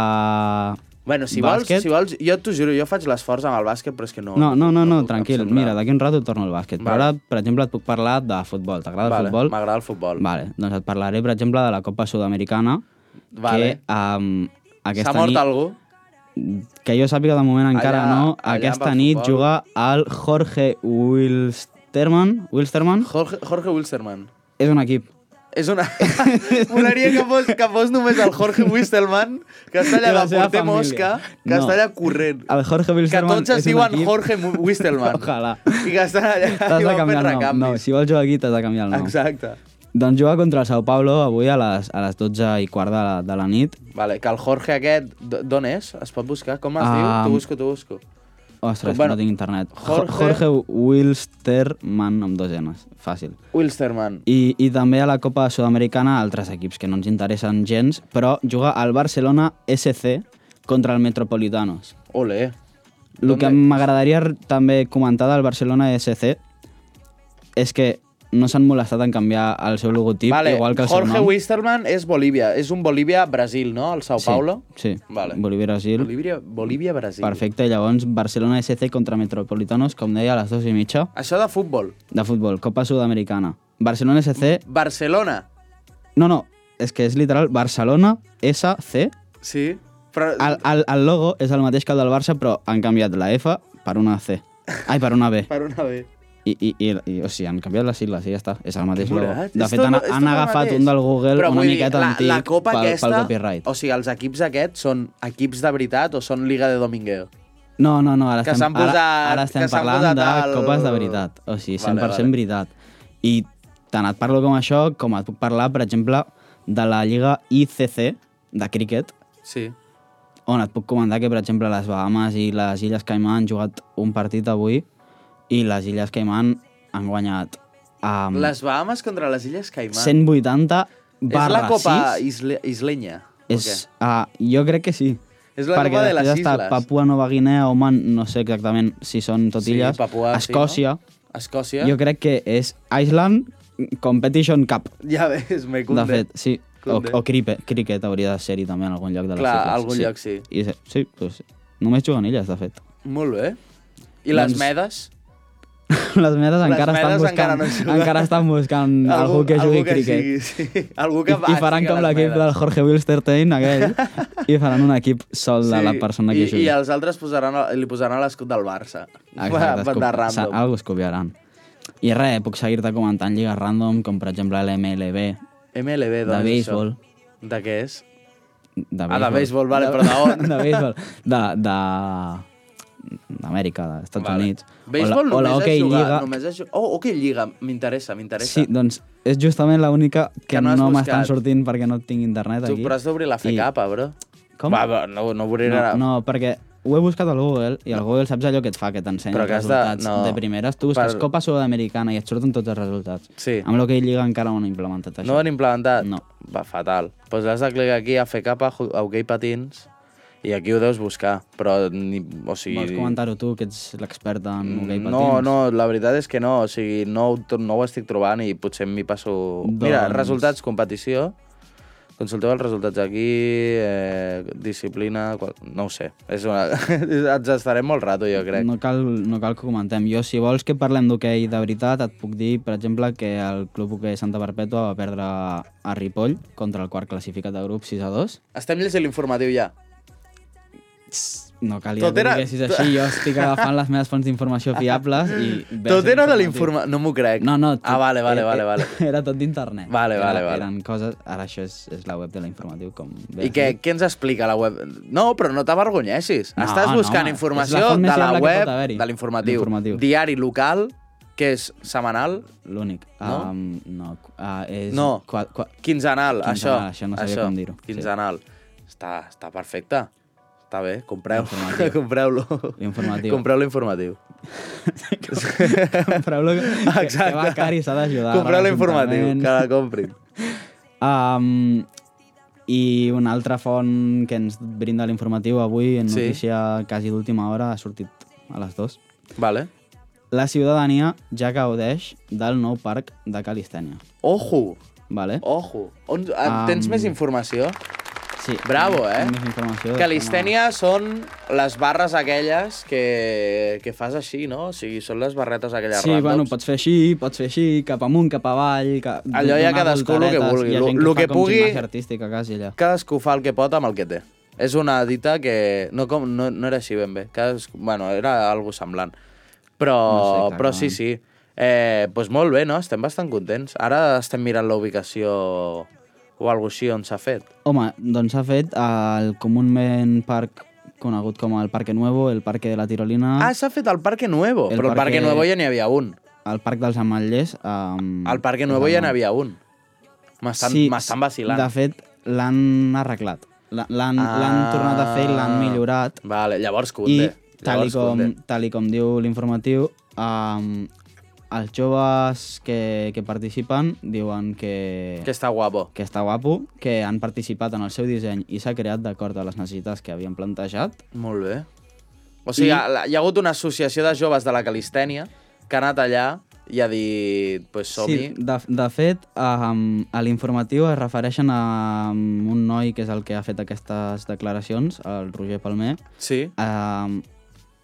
Bueno, si Bàsquet? vols, si vols, jo t'ho juro, jo faig l'esforç amb el bàsquet, però és que no... No, no, no, no puc, em tranquil. sembla- Mira, d'aquí un rato torno al bàsquet. Però Vale. ara, per exemple, et puc parlar de futbol. T'agrada Vale, el futbol? M'agrada el futbol. Vale, doncs et parlaré, per exemple, de la Copa Sudamericana, Vale. que um, aquesta S'ha mort nit... algú? Que jo sàpiga, de moment encara Allà- no. allà Aquesta pel nit futbol. juga el Jorge Wilstermann. Wilstermann? Jorge, Jorge Wilstermann. És un equip. És una... Molaria que fos, que fos només el Jorge Wistelman, que està I allà la de seva porter família. mosca, que No. està allà corrent. El Jorge Que Wilstermann tots es és un diuen equip... Jorge Mu- Wistelman. Ojalà. I que estan allà T'has i de van fent canviar el nom. No, recanvis. si vols jugar aquí, t'has de canviar el nom. Exacte. Doncs juga contra el Sao Paulo avui a les, a les 12 i quart de la, de la nit. Vale, que el Jorge aquest, d- d'on és? Es pot buscar? Com es diu? Ah, T'ho busco, t'ho busco. Ostres, Bueno, bueno, no tinc internet. Jo- Jorge- Jorge Wilstermann amb dos N's. Fàcil. Wilsterman. I, I també a la Copa Sudamericana altres equips que no ens interessen gens, però juga al Barcelona SC contra el Metropolitanos. Ole. El que m'agradaria r- també comentar del Barcelona SC és que no s'han molestat en canviar el seu logotip, Vale, igual que el seu Jorge nom. Wisterman és Bolívia. És un Bolívia-Brasil, no? El Sao Paulo. Sí, sí. Vale. Bolívia-Brasil. Bolívia, Bolívia Brasil. Perfecte, llavors Barcelona SC contra Metropolitanos, com deia, a les dues i mitja. Això de futbol. De futbol, Copa Sudamericana. Barcelona SC... Barcelona. No, no, és que és literal Barcelona SC. Sí. Però... El, el, el logo és el mateix que el del Barça, però han canviat la F per una C. Ai, per una B. Per una B. I, i, i, i o sigui, han canviat les sigles i ja està. És el mateix logo. Morat, De és fet, tot- han, és tot han el agafat mateix. un del Google Però una vull dir, miqueta la, antic la copa pel, aquesta, pel copyright. O sigui, els equips aquests són equips de veritat o són Liga de Domingueo? No, no, no, ara Que estem, s'han posat- ara, ara estem que s'han parlant posat de el- copes de veritat. O sigui, Vale, 100% vale, vale. vale. veritat. I tant et parlo com això, com et puc parlar, per exemple, de la Lliga ICC de críquet, Sí. on et puc comentar que, per exemple, les Bahamas i les Illes Caimán han jugat un partit avui i les Illes Caimán han guanyat amb Les Bahamas contra les Illes Caimán. 180 barra És la copa 6. isle, islenya. o És, què? uh, jo crec que sí. És la Copa de les després està Isles. Papua, Nova Guinea, Oman, no sé exactament si són tot Sí, illes. Papua, sí, Escòcia, Escòcia. jo crec que és Island Competition Cup. Ja ves, me De cunde. fet, sí. O, Cunde. o cripe, cricket hauria de ser-hi també en algun lloc de les Clar, Isles. algun lloc sí. I, se- sí, doncs, només juguen illes, de fet. Molt bé. I les Doncs- medes? Les medes Les encara medes estan buscant, encara no juguen. encara estan buscant algú, que jugui cricket. Sigui, sí. Algú que I faran com l'equip del Jorge Wilstertein, aquell, i faran un equip sol de la persona que I, jugui. I els altres posaran, li posaran l'escut del Barça. Exacte, Ah, Va, escup- de sa- random. Algo es copiaran. I res, puc seguir-te comentant lligues random, com per exemple l'MLB, MLB, ah, de doncs, béisbol. Això. De què és? De Ah, de béisbol, vale, però d'on? De béisbol. De... de d'Amèrica, dels Estats Vale. Units. Béisbol o la, o la només, hockey és jugar, lliga. només és jugar... Oh, hockey lliga, m'interessa, m'interessa. Sí, doncs és justament l'única que, Que no no, has no m'estan buscat. sortint perquè no tinc internet Tu, aquí. però has d'obrir la FECAPA, bro. Com? Va, va, no, no obriré... No, la- no, perquè ho he buscat al Google i al Google saps allò que et fa, que t'ensenya Però els que has de- resultats de, no. primeres. Tu busques Per- Copa Sudamericana i et surten tots els resultats. Sí. Amb l'hoquei lliga encara no han implementat això. No ho han implementat? No. Va, fatal. Doncs pues has de clicar aquí a fer cap a ho- a hoquei patins i aquí ho deus buscar, però... Ni, o sigui, Vols comentar-ho tu, que ets l'expert en hoquei Mm, patins? No, no, la veritat és que no, o sigui, no, ho tro- no ho estic trobant i potser m'hi passo... Doncs... Mira, Doncs- resultats, competició, consulteu els resultats aquí, eh, disciplina, qual... no ho sé, és una... ens estarem molt rato, jo crec. No cal, no cal que ho comentem. Jo, si vols que parlem d'hoquei de veritat, et puc dir, per exemple, que el Club Hoquei Santa Perpètua va perdre a Ripoll contra el quart classificat de grup 6 a 2. Estem llegint l'informatiu ja. No calia Tot que era- ho diguessis així, jo estic agafant les meves fonts d'informació fiables i... veig Tot era de l'informatiu. l'informatiu. No m'ho crec. No, no. Tot, Ah, vale, vale, eh, vale, eh, vale. Era tot d'internet. Vale, Era- vale, vale. Eren coses... Ara això és, és la web de l'informatiu, com bé I has què, dit. què ens explica la web? No, però no t'avergonyeixis. No, Estàs no, buscant home, és informació la font més de la fiable que pot web, haver-hi. de l'informatiu. L'informatiu. Diari local, que és setmanal, L'únic. No? Um, no. Uh, és... No. Qua, qua... quinzenal, això. Quinzenal, això no sabia com dir-ho. Sí. Quinzenal. Està, està perfecte. Està bé, compreu. Compreu-lo. L'informatiu. Compreu l'informatiu. Compreu-lo que, que- que va car i s'ha d'ajudar. Compreu l'informatiu, l'Ajuntament. que la comprin. Um, I una altra font que ens brinda l'informatiu avui, en Sí. notícia quasi d'última hora, ha sortit a les dues. Vale. La ciutadania ja gaudeix del nou parc de Calistènia. Ojo, Vale? ojo. On, ah, tens Am. més informació? Sí. Bravo, eh? Tinc Més informació. Calistènia són les barres aquelles que, que fas així, no? O sigui, són les barretes aquelles Sí, randoms. bueno, pots fer així, pots fer així, cap amunt, cap avall... Cap... Allò ja cadascú lo que vulgui, lo- lo que pugui. És artística, quasi, allà. Cadascú fa el que pot amb el que té. És una dita que... No, com, no, no era així ben bé. Cadascú, bueno, era algo semblant. Però, No no sé, sé, clar, però clar. sí, sí. Eh, pues molt bé, no? Estem bastant contents. Ara estem mirant la ubicació o alguna així on s'ha fet. Home, doncs s'ha fet al comúment parc conegut com el Parque Nuevo, el Parque de la Tirolina, Ah, s'ha fet al Parque Nuevo. El El però al Parque... Parque- Nuevo ja n'hi havia un. el Parc dels Ametllers... Um, Al Parque Nuevo ja n'hi havia un. M'estan sí, vacilant. De fet, l'han arreglat. L'ha- L'han ah, tornat a fer i l'han Ah. millorat. Vale, llavors I, Cunde. tal i, Llavors, com, Cunde. tal i com diu l'informatiu, um, els joves que, que participen diuen que... Que està guapo. Que està guapo, que han participat en el seu disseny i s'ha creat d'acord a les necessitats que havien plantejat. Molt bé. O sigui, I... hi ha, hi ha hagut una associació de joves de la calistènia que ha anat allà i ha dit, pues som-hi. Sí, de, de fet, um, a l'informatiu es refereixen a um, un noi que és el que ha fet aquestes declaracions, el Roger Palmer. Sí. Um,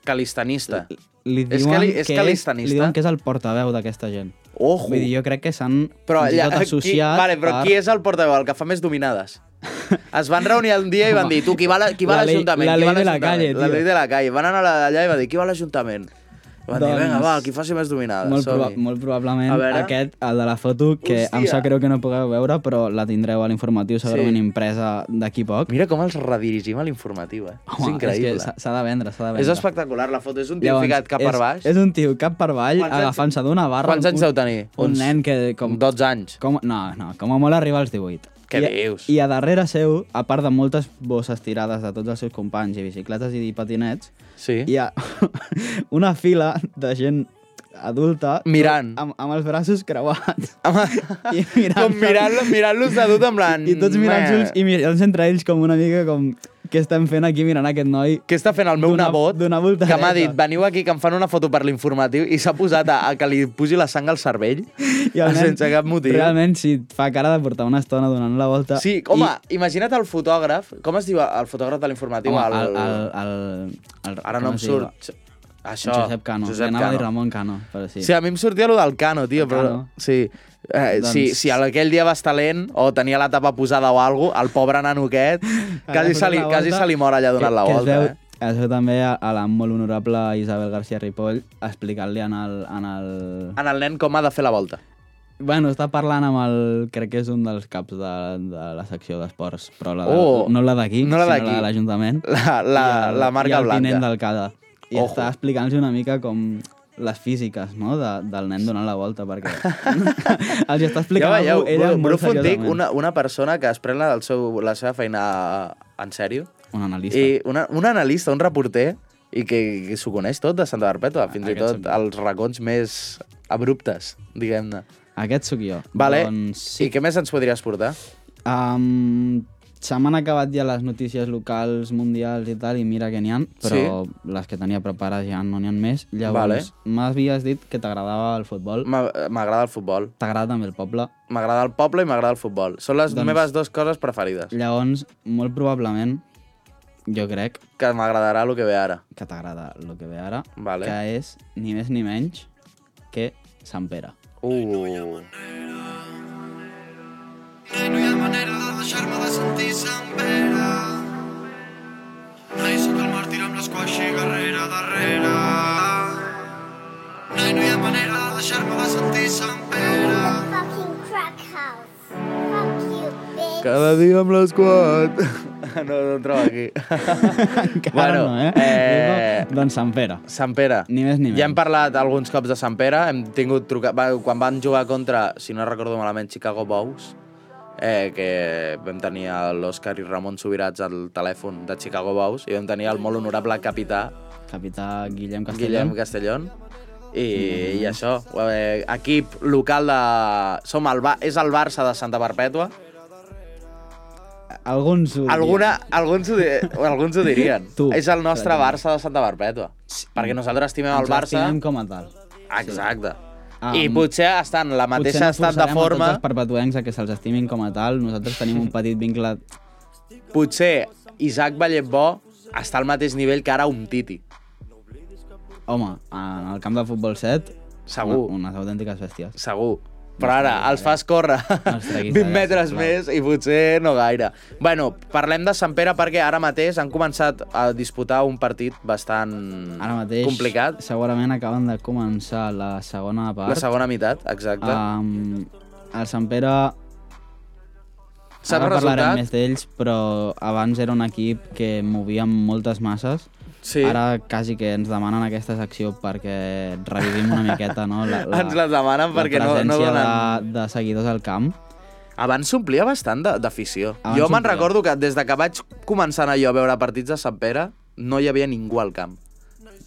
Calistanista. Li És diuen, cali- és que calistanista? li diuen que és el portaveu d'aquesta gent. Ojo. Vull dir, jo crec que s'han Però, fins i tot qui, associat vale, però per... qui és el portaveu? El que fa més dominades. Es van reunir un dia i van dir, tu, qui va a la- qui va a La ley- l'Ajuntament? la Qui va a ley de la l'Ajuntament?" calle, La tio. llei de la calle. Van anar a allà i van dir, qui va a l'Ajuntament? Van dir, Doncs- vinga, va, el qui faci més dominades. Molt, proba som-hi." molt probablement A veure. aquest, el de la foto, que Hòstia. em Hòstia. sap greu que no pugueu veure, però la tindreu a l'informatiu, segurament Sí. sí. impresa d'aquí poc. Mira com els redirigim a l'informatiu, eh? Home, és increïble. És que s'ha- s'ha de vendre, s'ha de vendre. És espectacular la foto, és un tio Llavors, ficat cap per és- baix. És un tio cap per avall, Quants anys- agafant-se d'una barra. Quants anys un, deu tenir? Un Uns- nen que... Com, 12 anys. Com, no, no, com a molt arriba als 18. Què I, a- dius? I a darrere seu, a part de moltes bosses tirades de tots els seus companys i bicicletes i patinets, sí. hi ha una fila de gent adulta Mirant. amb, amb els braços creuats i mirant Com mirant- mirant-los d'adult, en plan, i tots mirant meh. junts i mirant entre ells com una mica com què estem fent aquí mirant aquest noi què està fent el meu nebot d'una volta que m'ha dit, veniu aquí que em fan una foto per l'informatiu i s'ha posat a, a que li pusi la sang al cervell I el nen, Ah, sense cap motiu. Realment, si et fa cara de portar una estona donant la volta... Sí, home, I... imagina't el fotògraf, com es diu el fotògraf de l'informatiu? Home, El- el- el- el, Ara no com em es diu? surt... Això, Josep Cano. Josep Cano. Anava a dir Ramon Cano, però sí. Sí, a mi em sortia lo del Cano, tio, però... Cano. Sí. Eh, doncs... Doncs- sí, si aquell dia va estar lent o tenia la tapa posada o alguna cosa, el pobre nano aquest, quasi se, li, quasi se li mor allà donant la volta. Que eh? es veu, es veu també a, a la molt honorable Isabel García Ripoll explicant-li en el, en el... En el nen com ha de fer la volta. Bueno, està parlant amb el... Crec que és un dels caps de, de la secció d'esports, però la de, Oh. no la d'aquí, No la sinó d'aquí. la de l'Ajuntament. La- la- I el- la marca I el blanca. tinent d'alcalde. I Ojo. està explicant-los una mica com les físiques, no?, de, del nen donant la volta, perquè els està ja explicant alguna cosa, ella veieu, molt Bru Fontic, seriosament. una, una persona que es pren la, del seu, la seva feina en sèrio. Un analista. I una, un analista, un reporter, i que, que s'ho coneix tot de Santa Barpètua, fins i Ah, aquest tot sóc els racons més abruptes, diguem-ne. Aquest sóc jo. Vale. Doncs, I què més ens podries portar? Um, se m'han acabat ja les notícies locals, mundials i tal, i mira que n'hi ha, però Sí. les que tenia preparades ja no n'hi ha més. Vale. Llavors, m'havies dit que t'agradava el futbol. M'a- M'agrada el futbol. T'agrada també el poble. M'agrada el poble i m'agrada el futbol. Són les Doncs- doncs... meves dues coses preferides. Llavors, molt probablement, jo crec Que m'agradarà el que ve ara. que t'agrada el que ve ara, Vale. que és ni més ni menys que Sant Pere. Uh. No hi ha manera de deixar-me de sentir Sant Pere. Rai, sóc el màrtir amb l'esquaixi darrere, darrere. Rai, no hi ha manera de deixar-me de sentir Sant Pere. Cada dia amb l'esquad. No, no trobo aquí. Encara no, eh? eh... Doncs Sant Pere. Sant Pere. Ni més ni menys. Ja hem parlat alguns cops de Sant Pere, hem tingut truca... va, quan van jugar contra, si no recordo malament, Chicago Bulls, eh, que vam tenir a l'Òscar i Ramon Subirats al telèfon de Chicago Bulls i vam tenir el molt honorable capità Capità Guillem Castelló. Guillem Castellón i, i això, eh, equip local de... Som el ba... És el Barça de Santa Perpètua. Alguns ho dirien. Alguna, alguns, ho, di- alguns ho dirien. Tu, és el nostre per exemple. Barça de Santa Perpètua. Perquè nosaltres estimem el Ens Barça... l'estimem com a tal. Exacte. Ah, I mm. potser està en la Potser mateixa no estat de forçarem forma... A tots els perpetuencs a que se'ls estimin com a tal. Nosaltres tenim un petit vincle... Potser Isaac Valletbó està al mateix nivell que ara un Titi. Home, en el camp de futbol 7... Segur. Una, unes autèntiques bèsties. Segur. Però ara els fas córrer treguis 20 de metres clar. més i potser no gaire. Bueno, parlem de Sant Pere perquè ara mateix han començat a disputar un partit bastant Ara mateix, complicat. segurament acaben de començar la segona part. La segona meitat, exacte. Um, el Sant Pere... Saps ara resultat? parlarem més d'ells, però abans era un equip que movia moltes masses. Sí. Ara quasi que ens demanen aquesta secció perquè revivim una miqueta, no? La, la, Ens la demanen perquè no- no presència donen- De, de seguidors al camp. Abans s'omplia bastant de- d'afició. Abans Jo me'n s'omplia. recordo que des de que vaig començant allò a veure partits de Sant Pere, no hi havia ningú al camp.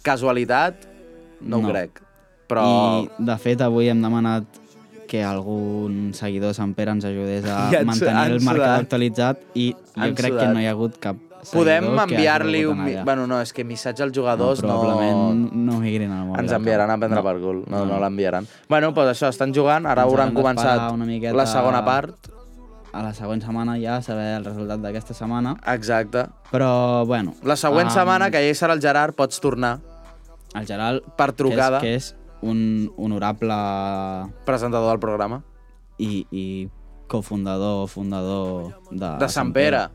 Casualitat? No, no. ho No. crec. Però- I, de fet, avui hem demanat que algun seguidor de Sant Pere ens ajudés a I ens- mantenir el han marcador sudat. actualitzat i jo Han crec que sudat. no hi ha hagut cap Podem seguidor que hagi enviar-li volgut un... anar mi- allà. Bueno, no, és que missatge als jugadors no... Probablement no migrin al mòbil. Ens enviaran a prendre per cul. No, no l'enviaran. Bueno, doncs això, estan jugant, ara Ens hauran haurem d'esperar començat una miqueta la segona part. A la següent setmana ja saber el resultat d'aquesta setmana. Exacte. Però, bueno... La següent setmana, que ja hi serà el Gerard, pots tornar. El Gerard... Per trucada. Que és, que és un honorable... Presentador del programa. I, i cofundador, fundador de... De Sant Pere.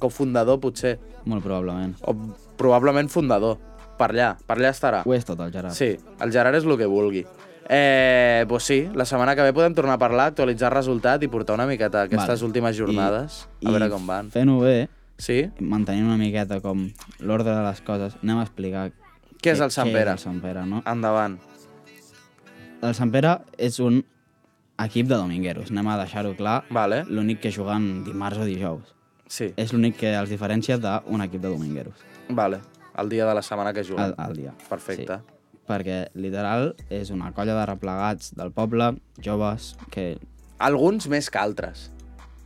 Cofundador, potser. Molt probablement. O probablement fundador. Per allà, per allà estarà. Ho és tot, el Gerard. Sí, el Gerard és el que vulgui. Eh, doncs sí, la setmana que ve podem tornar a parlar, actualitzar el resultat i portar una miqueta aquestes Vale. últimes I- jornades, I, a veure com van. Fent-ho bé, sí? mantenint una miqueta com l'ordre de les coses, anem a explicar... Què és el Sant Què Pere? és el Sant Pere, no? Endavant. El Sant Pere és un equip de domingueros, anem a deixar-ho clar. Vale. L'únic que juguen dimarts o dijous. Sí. És l'únic que els diferencia d'un equip de domingueros. Vale, el dia de la setmana que juguen. El- ah, el dia. Perfecte. Perquè, literal, és una colla de replegats del poble, joves, que... Alguns més que altres.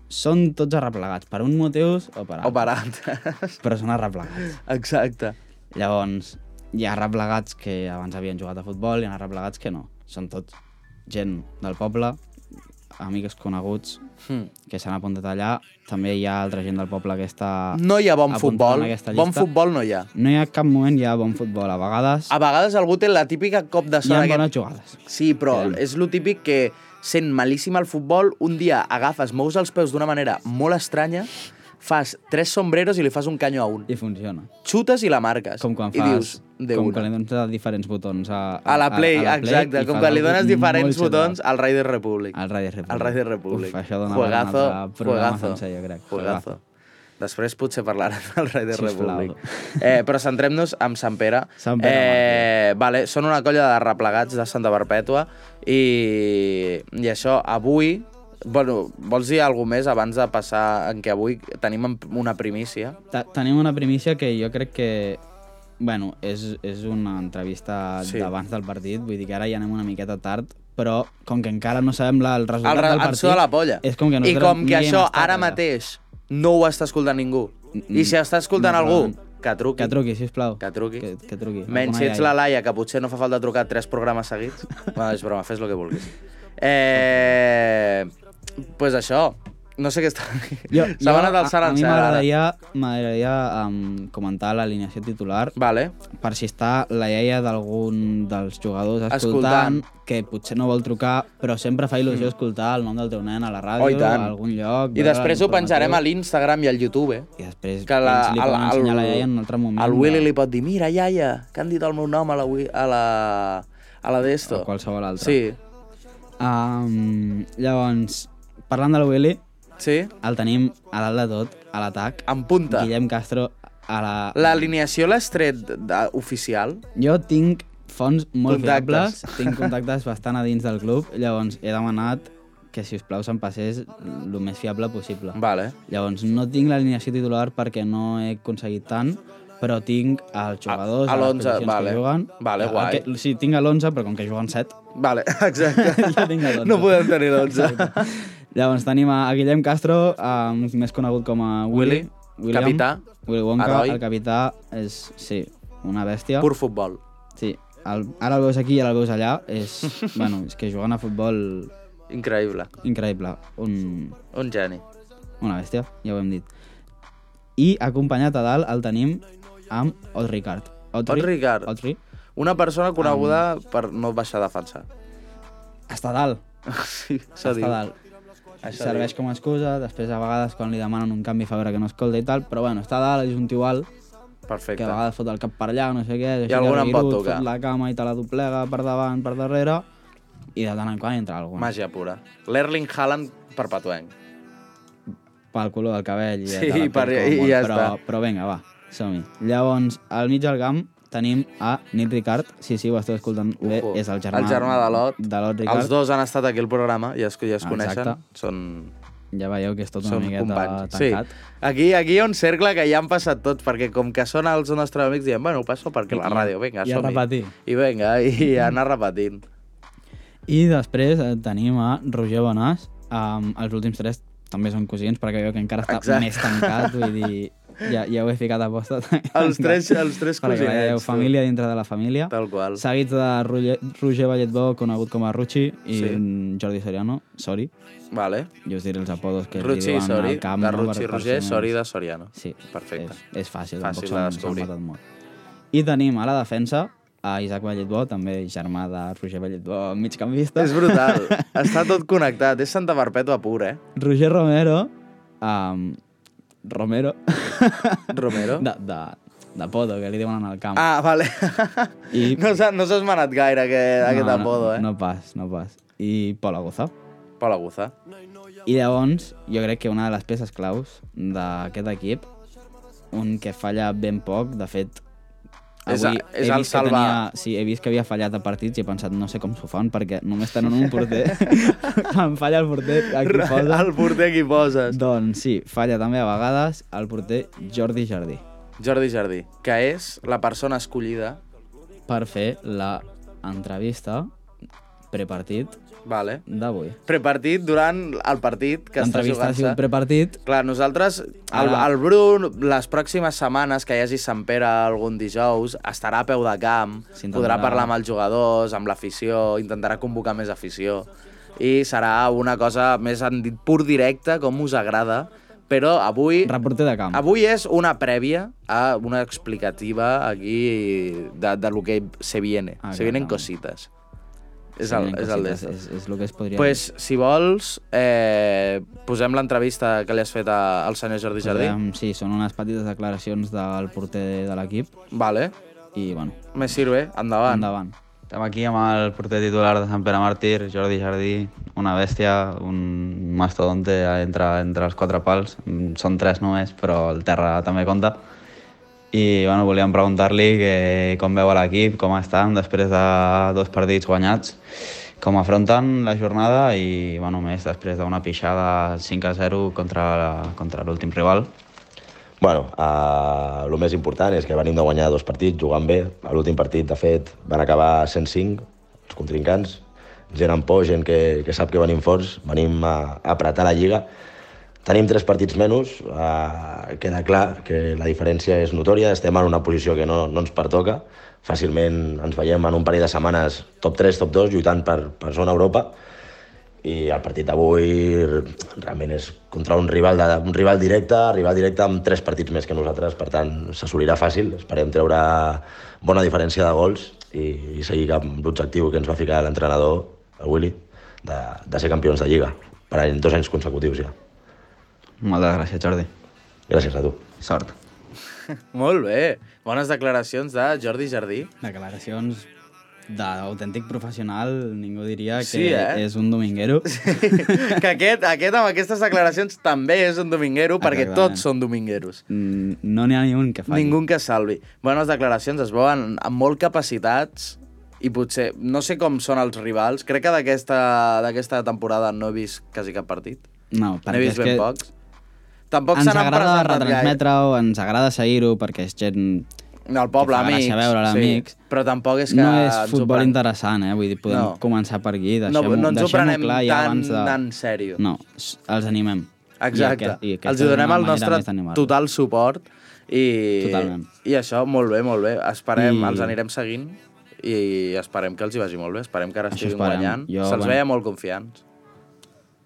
Són tots arreplegats, per uns motius o per altres. O per altres. Però són arreplegats. Exacte. Llavors, hi ha arreplegats que abans havien jugat a futbol, hi ha arreplegats que no. Són tots gent del poble, amics coneguts, Hmm. que s'han apuntat allà. També hi ha altra gent del poble que està... No hi ha bon apuntada en futbol. Ah. aquesta Bon llista. futbol no hi ha. No hi ha cap moment hi ha bon futbol. A vegades A vegades algú té la típica cop de hi ha sort. bones jugades. Sí, però és lo típic que sent malíssim al futbol, un dia agafes, mous els peus d'una manera molt estranya, fas tres sombreros i li fas un canyo a un. I funciona. Xutes i la marques. Com quan I fas... dius, de com una. quan li dones diferents botons a, A la Play, a la Play exacte. i Com fas quan li algo dones molt diferents xulo. botons al Raider Republic. Al Raider Republic. Al Raider Republic. Uf, això dona per un juegazo, altre programa juegazo, sencer, jo crec. Juegazo. Juegazo. Després potser parlarem del Raider Sisplau. Republic. Eh, però centrem-nos en Sant Pere. Sant Pere, eh, vale, són una colla de replegats de Santa Perpètua i, i això avui... Bueno, vols dir alguna més abans de passar en què avui tenim en- una primícia? Te- Tenim una primícia que jo crec que... Bueno, és, és una entrevista Sí. sí. d'abans del partit, vull dir que ara ja anem una miqueta tard, però com que encara no sabem la, el resultat El, re- del el partit... so de la polla. És com que I nosaltres com que no hi hem això estat, ara allà. mateix no ho està escoltant ningú. I si està escoltant no, algú, que truqui. Que truqui, sisplau. Que truqui. Que, que truqui. Menys si ets la Laia, que potser no fa falta trucar tres programes seguits. bueno, és broma, fes el que vulguis. Eh... Pues això. No sé què està... Jo, jo, Sabana del Sant a, a mi Anxar, ara. m'agradaria m'agradaria um, comentar l'alineació titular vale. per si està la iaia d'algun dels jugadors Escoltant. escoltant, que potser no vol trucar, però sempre fa il·lusió Mm. escoltar el nom del teu nen a la Oh, ràdio, i tant. a algun I lloc... veure després ho l'informatiu. penjarem a l'Instagram i al YouTube. eh? I després que la, doncs, li poden ensenyar a la iaia en un altre moment El de- Willy li pot dir, mira, iaia, que han dit el meu nom a la, wi- a la, a la d'esto. o qualsevol altre. Sí. Um, llavors, parlant del Willy, sí? el tenim a dalt de tot, a l'atac. En punta. Guillem Castro a la... L'alineació l'has tret de- oficial? Jo tinc fonts molt Contactes. fiables, tinc contactes bastant a dins del club, llavors he demanat que, si us plau, se'n passés el més fiable possible. Vale. Llavors, no tinc l'alineació titular perquè no he aconseguit tant, però tinc els jugadors, a les l'11, posicions vale. que juguen. Vale, El guai. Que, sí, tinc a l'11, però com que juguen 7... Vale, exacte. ja tinc a l'11. No podem tenir l'11. Exacte. Llavors tenim a Guillem Castro, um, més conegut com a Willy. Willy, capità, Willy Wonka, heroi. el capità és, sí, una bèstia. Pur futbol. Sí, el, ara el veus aquí i ara el veus allà. És, bueno, és que jugant a futbol... Increïble. Increïble. Un, Un geni. una bèstia, ja ho hem dit. I acompanyat a dalt el tenim amb Ot Ricard. Ot Ricard. Otri. Una persona coneguda per no baixar a defensar. Està a dalt. Sí, Està a dalt. Això Serveix com a excusa, després a vegades quan li demanen un canvi fa veure que no escolta i tal, però bueno, està a dalt, és un tio alt, Perfecte. que a vegades fot el cap per allà, no sé què, I algun em pot revirut, tocar. fot la cama i te la doblega per davant, per darrere, i de tant en quant entra algun. Màgia pura. L'Erling Haaland perpetuenc. pel color del cabell i Sí, de la pell per- com i vol, ja però, està. Però vinga, va, som-hi. Llavors, al mig del camp tenim a Nil Ricard. Sí, sí, ho esteu escoltant bé, Ojo. Eh, és el germà, El germà de l'Ot. De l'Ot Ricard. Ah, Els dos han estat aquí al programa, ja es, ja es Exacte. coneixen. Són ja veieu que és tot una Som miqueta companys, sí. tancat. Aquí, aquí hi ha un cercle que ja han passat tots, perquè com que són els nostres amics, diem, bueno, passo perquè la ràdio, vinga, I a som-hi. repetir. I vinga, i anar repetint. I després eh, tenim a Roger Bonàs. Um, els últims tres també són cosins, perquè veieu que encara està Exacte. més tancat, vull dir, ja, ja ho he ficat a posta. Els tres- els tres Perquè cosinets, veieu, tu. família dintre de la família. Tal qual. Seguits de Roger, Roger Balletbó, conegut com a Ruchi, i Sí. sí. Jordi Soriano, Sori. Vale. Jo us diré els apodos que Ruchi, li diuen Sori, al camp. de no? Ruchi Per- per Roger, si no- Sori de Soriano. Sí. Perfecte. És, és Fàcil fàcil, fàcil de tampoc s'han descobrir. matat molt. I tenim a la defensa a Isaac Balletbó, també germà de Roger Balletbó, mig canvista. És brutal. Està tot connectat. És Santa Perpètua pur, eh? Roger Romero, um, Romero, Romero? de, de, de podo, que li diuen en el camp. Ah, vale. I... No s'ha no s'ha esmenat gaire aquest, no, aquest apodo, eh? No, no pas, no pas. I Pol Aguza. Pol Aguza. I llavors, jo crec que una de les peces claus d'aquest equip, un que falla ben poc, de fet, És avui a- és he el vist Salva. que tenia, sí, he vist que havia fallat a partits i he pensat, no sé com s'ho fan, perquè només tenen un porter. em falla el porter a qui posa. El porter qui poses. Doncs sí, falla també a vegades el porter Jordi Jardí Jordi Jardí, que és la persona escollida. per fer la entrevista prepartit Vale. d'avui. Prepartit durant el partit que està L'entrevista ha jugant-se. sigut prepartit, Clar, nosaltres, el, Ara- el Bru, les pròximes setmanes que hi hagi Sant Pere algun dijous, estarà a peu de camp, podrà parlar amb els jugadors, amb l'afició, intentarà convocar més afició. I serà una cosa més en di- pur directe, com us agrada, però avui... Reporter de camp. Avui és una prèvia a una explicativa aquí de, de lo que se viene. Ah, se vienen clar. cositas. És el, és el d'estos. és, és el que es podria pues, si vols, eh, posem l'entrevista que li has fet a, al senyor Jordi Jardí. Podem- sí, són unes petites declaracions del porter de l'equip. Vale. I, bueno... Me sirve. Endavant. Endavant. Estem aquí amb el porter titular de Sant Pere Màrtir, Jordi Jardí, una bèstia, un mastodonte entre, entre els quatre pals. Mm, Són tres només, però el terra també compta. I bueno, volíem preguntar-li que com veu a l'equip, com estan després de dos partits guanyats, com afronten la jornada i bueno, més després d'una pixada 5 a 0 contra la- contra l'últim rival. Bueno, eh, el més important és que venim de guanyar dos partits jugant bé. A L'últim partit, de fet, van acabar 105, els contrincants. Gent amb por, gent que, que sap que venim forts, venim a, a apretar la lliga. Tenim tres partits menys, eh, queda clar que la diferència és notòria, estem en una posició que no, no ens pertoca. Fàcilment ens veiem en un parell de setmanes top 3, top 2, lluitant per, per zona Europa i el partit d'avui realment és contra un rival, de, un rival directe, rival directe amb tres partits més que nosaltres, per tant s'assolirà fàcil, esperem treure bona diferència de gols i, i seguir amb l'objectiu que ens va ficar l'entrenador, el Willy, de, de ser campions de Lliga, per any, dos anys consecutius ja. Moltes gràcies, Jordi. Gràcies a tu. Sort. Molt bé. Bones declaracions de Jordi Jardí. Declaracions d'autèntic professional, ningú diria que Sí, eh? és un dominguero. Que aquest, aquest amb aquestes declaracions també és un dominguero, perquè Exactament. tots són domingueros. Mm, No n'hi ha ni un que falli. Ningú que es salvi. Bones declaracions, es veuen amb molt capacitats i potser... No sé com són els rivals. Crec que d'aquesta d'aquesta temporada no he vist quasi cap partit. No, N'he perquè vist és ben que pocs. Tampoc se ens n'han agrada presentat gaire. retransmetre-ho, ens agrada seguir-ho, perquè és gent... Del poble, que fa gràcia amics. veure'l, amics. Sí, però tampoc és que no ens és ho futbol prenguem. interessant, eh? Vull dir, podem No. començar per aquí, No, no deixem-ho ens ho deixem-ho prenem clar ja tan, abans de... tan sèrio. No, s- els animem. Exacte. I aquest- i aquesta Els és hi una donem el manera nostre més d'animar-los. total suport i, Totalment. i això, molt bé, molt bé. Esperem, I- els anirem seguint i esperem que els hi vagi molt bé. Esperem que ara Això estiguin esperem. guanyant. Jo, Se'ls bueno. veia molt confiants.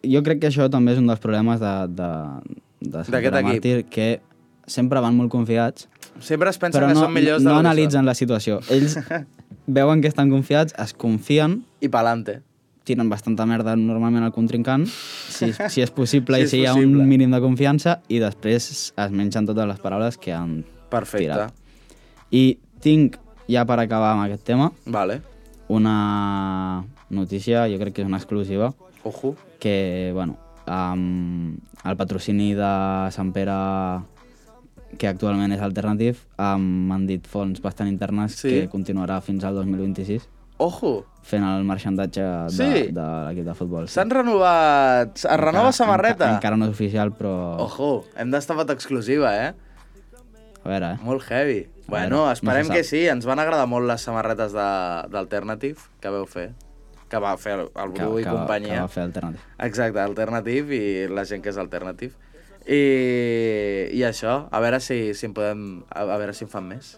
jo crec que això també és un dels problemes de, de, de Sant D'aquest Pere equip. Màrtir, que sempre van molt confiats, Sempre es pensen però que no, són millors de no lo que analitzen la situació. Ells veuen que estan confiats, es confien... I pa'lante. Tiren bastanta merda normalment al contrincant, si, si és possible Si si és i si hi ha possible. un mínim de confiança, i després es mengen totes les paraules que han Perfecte. tirat. I tinc, ja per acabar amb aquest tema, vale. una notícia, jo crec que és una exclusiva, Ojo. que, bueno, um, el patrocini de Sant Pere, que actualment és alternatiu, um, m'han dit fons bastant internes Sí. que continuarà fins al 2026. Ojo! fent el marxandatge de, Sí. de l'equip de futbol. S'han renovat... Es renova Encara- samarreta. Oh. Encara, encara no és oficial, però... Ojo, hem d'estafat exclusiva, eh? A veure, eh? Molt heavy. Bueno, veure, esperem no se que sap. sí. Ens van agradar molt les samarretes de- d'Alternative que veu fer. Que va fer el, el Bru i que, companyia. Que va fer alternativa. Exacte, alternatiu i la gent que és alternatiu. I, i això, a veure si, si en podem... A, a veure si en fan més.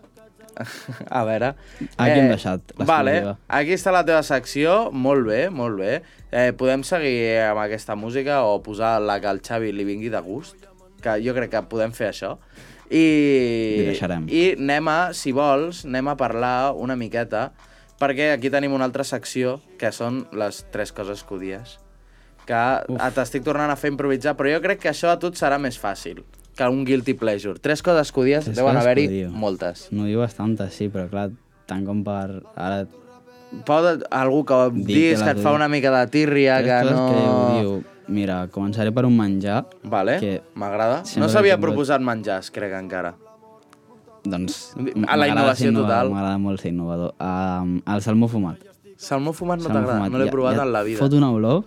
a veure... Eh, Aquí hem deixat l'exclusiva. Vale, aquí està la teva secció, molt bé, molt bé. Eh, podem seguir amb aquesta música o posar la que al Xavi li vingui de gust, que jo crec que podem fer això. Li I, deixarem. I anem a, si vols, anem a parlar una miqueta, perquè aquí tenim una altra secció, que són les tres coses que odies que a- t'estic tornant a fer improvisar, però jo crec que això a tu et serà més fàcil que un guilty pleasure. Tres coses que odies, Tres deuen coses que haver-hi odio. moltes. No diu bastantes, sí, però clar, tant com per... Ara, Pot, algú que diguis que que, les et fa odio. una mica de tírria, tres que coses no... que diu, mira, començaré per un menjar. Vale, que m'agrada. sempre No s'havia he tingut- proposat menjars, crec, encara. Doncs... A la m'agrada innovació ser innovador, total. M'agrada molt ser innovador. Um, el salmó fumat. Salmó fumat no Salmó t'agrada, fumat, no l'he ja- provat ja en la et vida. Fot una olor,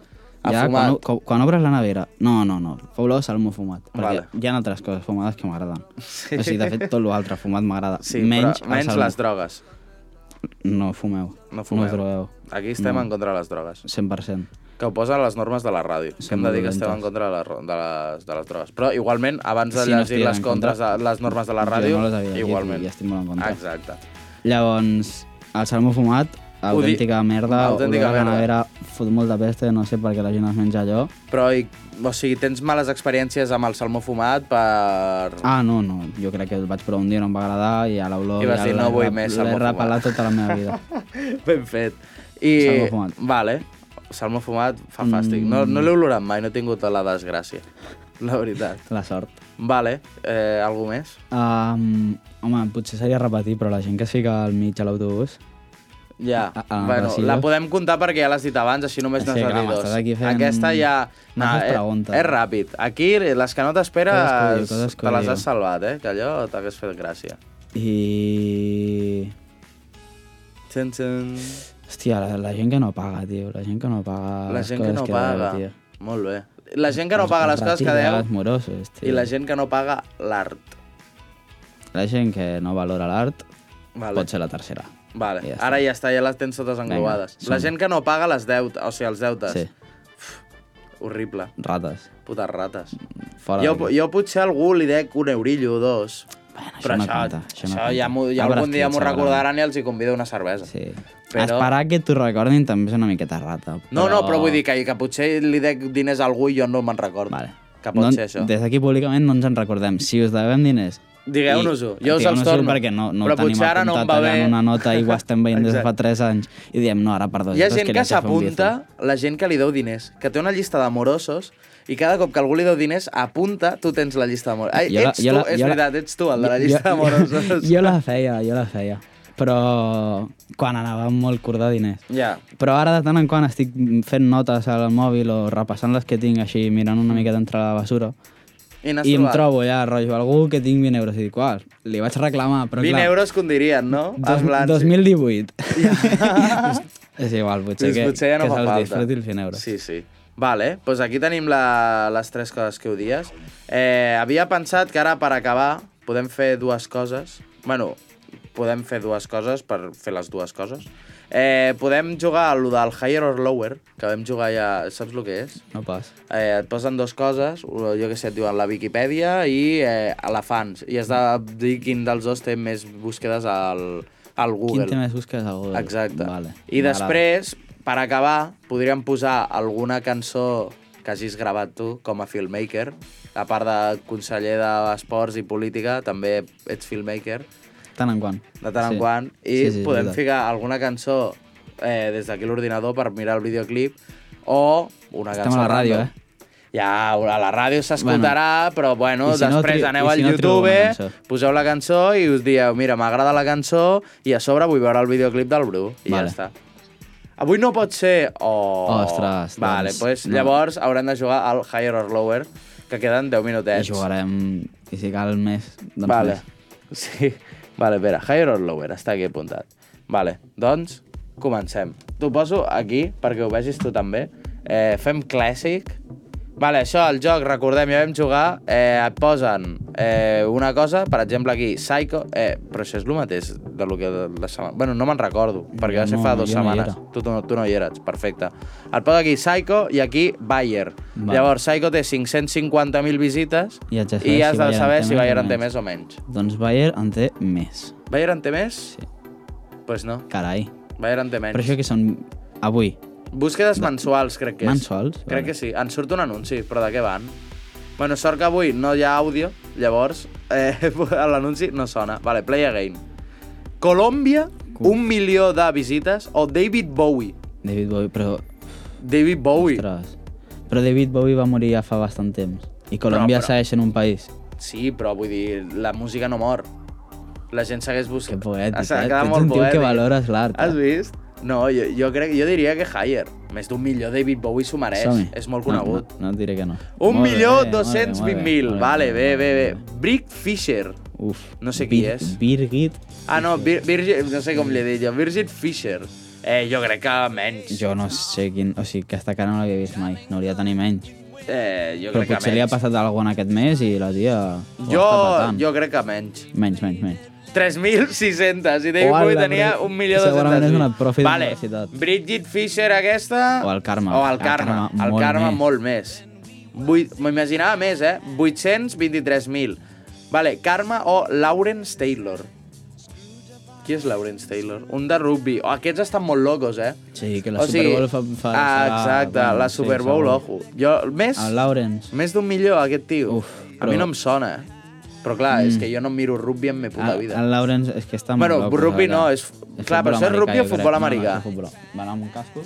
A ja fumat. quan, o- quan, quan obres la nevera... No, no, no, fa olor a salmó fumat. Perquè Vale. hi ha altres coses fumades que m'agraden. Sí. O sigui, de fet, tot l'altre fumat m'agrada. Sí, menys però, menys les drogues. drogues. No fumeu. No fumeu. No Mm. us drogueu. Aquí estem No. en contra de les drogues. 100%. Que ho posen les normes de la ràdio. Que Són hem de dir que dolentes. estem en contra de, la, ro- de, les, de les drogues. Però igualment, abans de Si no llegir estiguem les, en contres de, contra, les normes de la jo ràdio, no les havia llegit igualment. i ja estic molt en contra. Exacte. Llavors, el salmó fumat, Ho di- autèntica merda, autèntica olor a la merda. nevera, fot molt de peste, no sé per què la gent es menja allò. Però, i, o sigui, tens males experiències amb el salmó fumat per... Ah, no, no, jo crec que el vaig provar un dia, no em va agradar, i a l'olor... I vas ja dir, l'he "No vull rap- més salmó L'he fumat." repelat tota la meva vida. Ben fet. I... Salmó fumat. Mm. Vale. Salmó fumat fa fàstic. No, no l'he olorat mai, no he tingut la desgràcia. La veritat. La sort. Vale. Eh, algú més? Um, home, potser seria repetir, però la gent que es fica al mig a l'autobús... Ja. A- a- bueno, Brasil. la podem comptar perquè ja l'has dit abans, així només Sí, n'has de clar, dir dos. m'estàs aquí fent Aquesta ja... masses eh, preguntes. és ràpid. Aquí, les que no Coses que t'esperes, odio, coses que te les odio. has salvat, eh? Que allò t'hagués fet gràcia. I... Txin, txin. Hòstia, la, la gent que no paga, tio. La gent que no La paga Ah, les gent que coses no que paga. Deu, tio. Molt bé. La gent que no paga les coses que deu Els morosos, tio. i la gent que no paga l'art. la gent que no valora l'art Vale. pot ser la tercera. Vale. I Ja ja està. Ara ja està, ja les tens totes Vinga, englobades. Vinga, la som-hi. gent que no paga les deutes, o sigui, els deutes. Sí. Uf, horrible. Rates. Putes rates. Fora jo, d'aquí. jo potser a algú li dec un eurillo o dos. Bueno, això però no això, compta, això no això compta. ja, m'ho- ja Ara algun dia l'escrit m'ho segurament. recordaran i els hi convido una cervesa. Sí. Però... Esperar que t'ho recordin també és una miqueta rata. Però... No, no, però vull dir que, que potser li dec diners a algú i jo no me'n recordo. Vale. Que pot no, ser això. Des d'aquí públicament no ens en recordem. Si us devem diners... Digueu-nos-ho, i- jo us els digueu-nos-ho torno. Perquè no, no Però ho tenim potser ara no em apuntat va allà bé. en una nota i ho estem veient des de fa Exacte. 3 anys. I diem, no, ara per dos Hi ha euros gent li que haig de fer un s'apunta, la gent que li deu diners, que té una llista d'amorosos i cada cop que algú li deu diners, apunta, tu tens la llista d'amorosos. Ai, Jo la- ets jo tu, la- és jo la- veritat, ets tu el de la Jo- llista jo- d'amorosos. Jo la feia, jo la feia. Però quan anava molt curt de diners. Ja. Però ara de tant en quant estic fent notes al mòbil o repassant les que tinc així, mirant una miqueta entre la basura. I, n'has I em trobat? trobo ja, rotllo, algú que tinc 20 euros. I dic, qual? Li vaig reclamar, però 20 clar... euros que un dirien, no? Dos, Dos, blancs. 2018. és igual, potser, Doncs que, potser ja no que fa se'ls falta. disfruti els 100 euros. Sí, sí. Vale, doncs pues aquí tenim la, les tres coses que odies. Eh, havia pensat que ara, per acabar, podem fer dues coses. Bueno, podem fer dues coses per fer les dues coses. Eh, podem jugar a lo del higher or lower, que vam jugar ja... Saps el que és? No pas. Eh, et posen dues coses, una- jo que sé, et diuen la Viquipèdia i eh, elefants. I has de dir quin dels dos té més busquedes al, al Google. Quin tema busques a Google? Exacte. Vale. I M'agrada. després, per acabar, podríem posar alguna cançó que hagis gravat tu com a filmmaker. A part de conseller d'Esports i Política, també ets filmmaker Tant en quant. de tant en Sí. quant. I Sí, sí, és podem veritat. ficar alguna cançó eh, des d'aquí l'ordinador per mirar el videoclip o una Estem cançó a la ràdio, eh? random. Ja, a la ràdio s'escoltarà, bueno, però bueno, I si no després tri- aneu i al si no trobeu YouTube, eh, una cançó? poseu la cançó i us dieu, mira, m'agrada la cançó i a sobre vull veure el videoclip del Bru. I Vale. ja està. Avui no pot ser... Oh. Ostres, doncs, Vale, pues, no. llavors haurem de jugar al Higher or Lower, que queden 10 minutets. I jugarem, i si cal més, doncs vale. més. Sí. Vale, espera. Higher or lower? Està aquí apuntat. Vale. Doncs, comencem. T'ho poso aquí perquè ho vegis tu també. Eh, fem clàssic. Vale, això, el joc, recordem, ja vam jugar, eh, et posen eh, una cosa, per exemple aquí, Psycho, eh, però això és el mateix de lo que de la setmana... Bueno, no me'n recordo, perquè va ser No, fa dues jo no hi setmanes. era. tu, no, tu no hi eres, perfecte. Et posa aquí Psycho i aquí Bayer. Vale. Llavors, Psycho té 550.000 visites I haig de saber i has si de Bayern saber té si més o Bayer en té menys. més o menys. Doncs Bayer en té més. Bayer en té més? Sí. Pues no, Carai. Bayer en té menys. Però això que són avui. Búsquedes mensuals, crec que és. Mensuals? Crec que sí. Ens surt un anunci, però de què van? Bueno, sort que avui no hi ha àudio, llavors eh, l'anunci no sona. Vale, play again. Colòmbia, un milió de visites, o David Bowie. David Bowie, però... David Bowie. Ostres. Però David Bowie va morir ja fa bastant temps. I Colòmbia Però, però- segueix en un país. Sí, però vull dir, la música no mor. La gent segueix buscant. Ah, Que Poètic, eh? Tu ets un tio que valores l'art. eh? Has vist? No, jo, jo, crec, jo diria que Higher. Més d'un milió David Bowie s'ho mereix. Som-hi. És molt conegut. No, no, no et diré que no. Un Molt bé, milió molt bé, molt bé, 220.000. molt bé, Vale, molt bé, bé, bé. Brick Fisher. Uf. No sé qui Bir- és. Birgit, Ah, no, Vir Virgin, no sé com li he dit jo. Virgin Fisher. Eh, jo crec que menys. jo no sé quin... O sigui, aquesta cara no l'havia vist mai. No hauria de tenir menys. Eh, jo Però crec que potser li ha menys. passat alguna cosa en aquest mes i la tia... ho Jo, està patant. jo crec que menys. Menys, menys, menys. 3.600. I David Hola, Bowie tenia Brit- 1.200.000. Segurament és una profe Vale. d'universitat. Bridget Fisher aquesta... O el Carme. O el Carme. El molt Carme més. molt més. Vuit- M'imaginava més, eh? 823.000. Vale, Carme o Lawrence Taylor. Qui és Lawrence Taylor? Un de rugby. Oh, aquests estan molt locos, eh? Sí, que la Super Bowl fa... fa ah, serà- exacte, bueno, la sí, Super Bowl, segur. ojo. Jo, més... El Lawrence. Més d'un milió, aquest tio. Uf, A però- mi no em sona, eh? Però clar, mm. és Mm. que jo no em miro rugby en me puta El, vida. el Lawrence és que està molt Bueno, loco, rugby la no, veritat. és- clar, però futbol això és rugby americà, o jo crec. futbol No, no, americà. és futbol. Va anar amb un casco.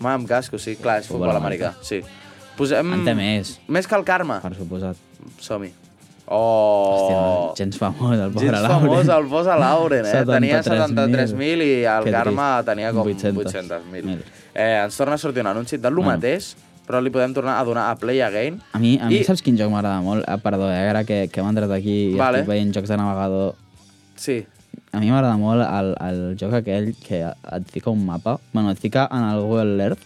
Ma, amb casco, sí, clar, és futbol, Futbol americà. americà. Sí. Posem... En té més. Més que el Carme. Per suposat. Som-hi. Oh... Hòstia, gens famós, el pobre Gens Lauren. famós el fos a Lauren, eh? Tenia 73.000 i el Que Carme trist. tenia com 800. 800.000. Eh, ens torna a sortir un anunci del bueno. mateix, però li podem tornar a donar a Play Again. A mi, a mi I- saps quin joc m'agrada molt? Ah, perdó, eh? ara que, que hem entrat aquí i Vale. estic veient jocs de navegador. Sí. A mi m'agrada molt el, el joc aquell que et fica un mapa. Bueno, et fica en el Google Earth.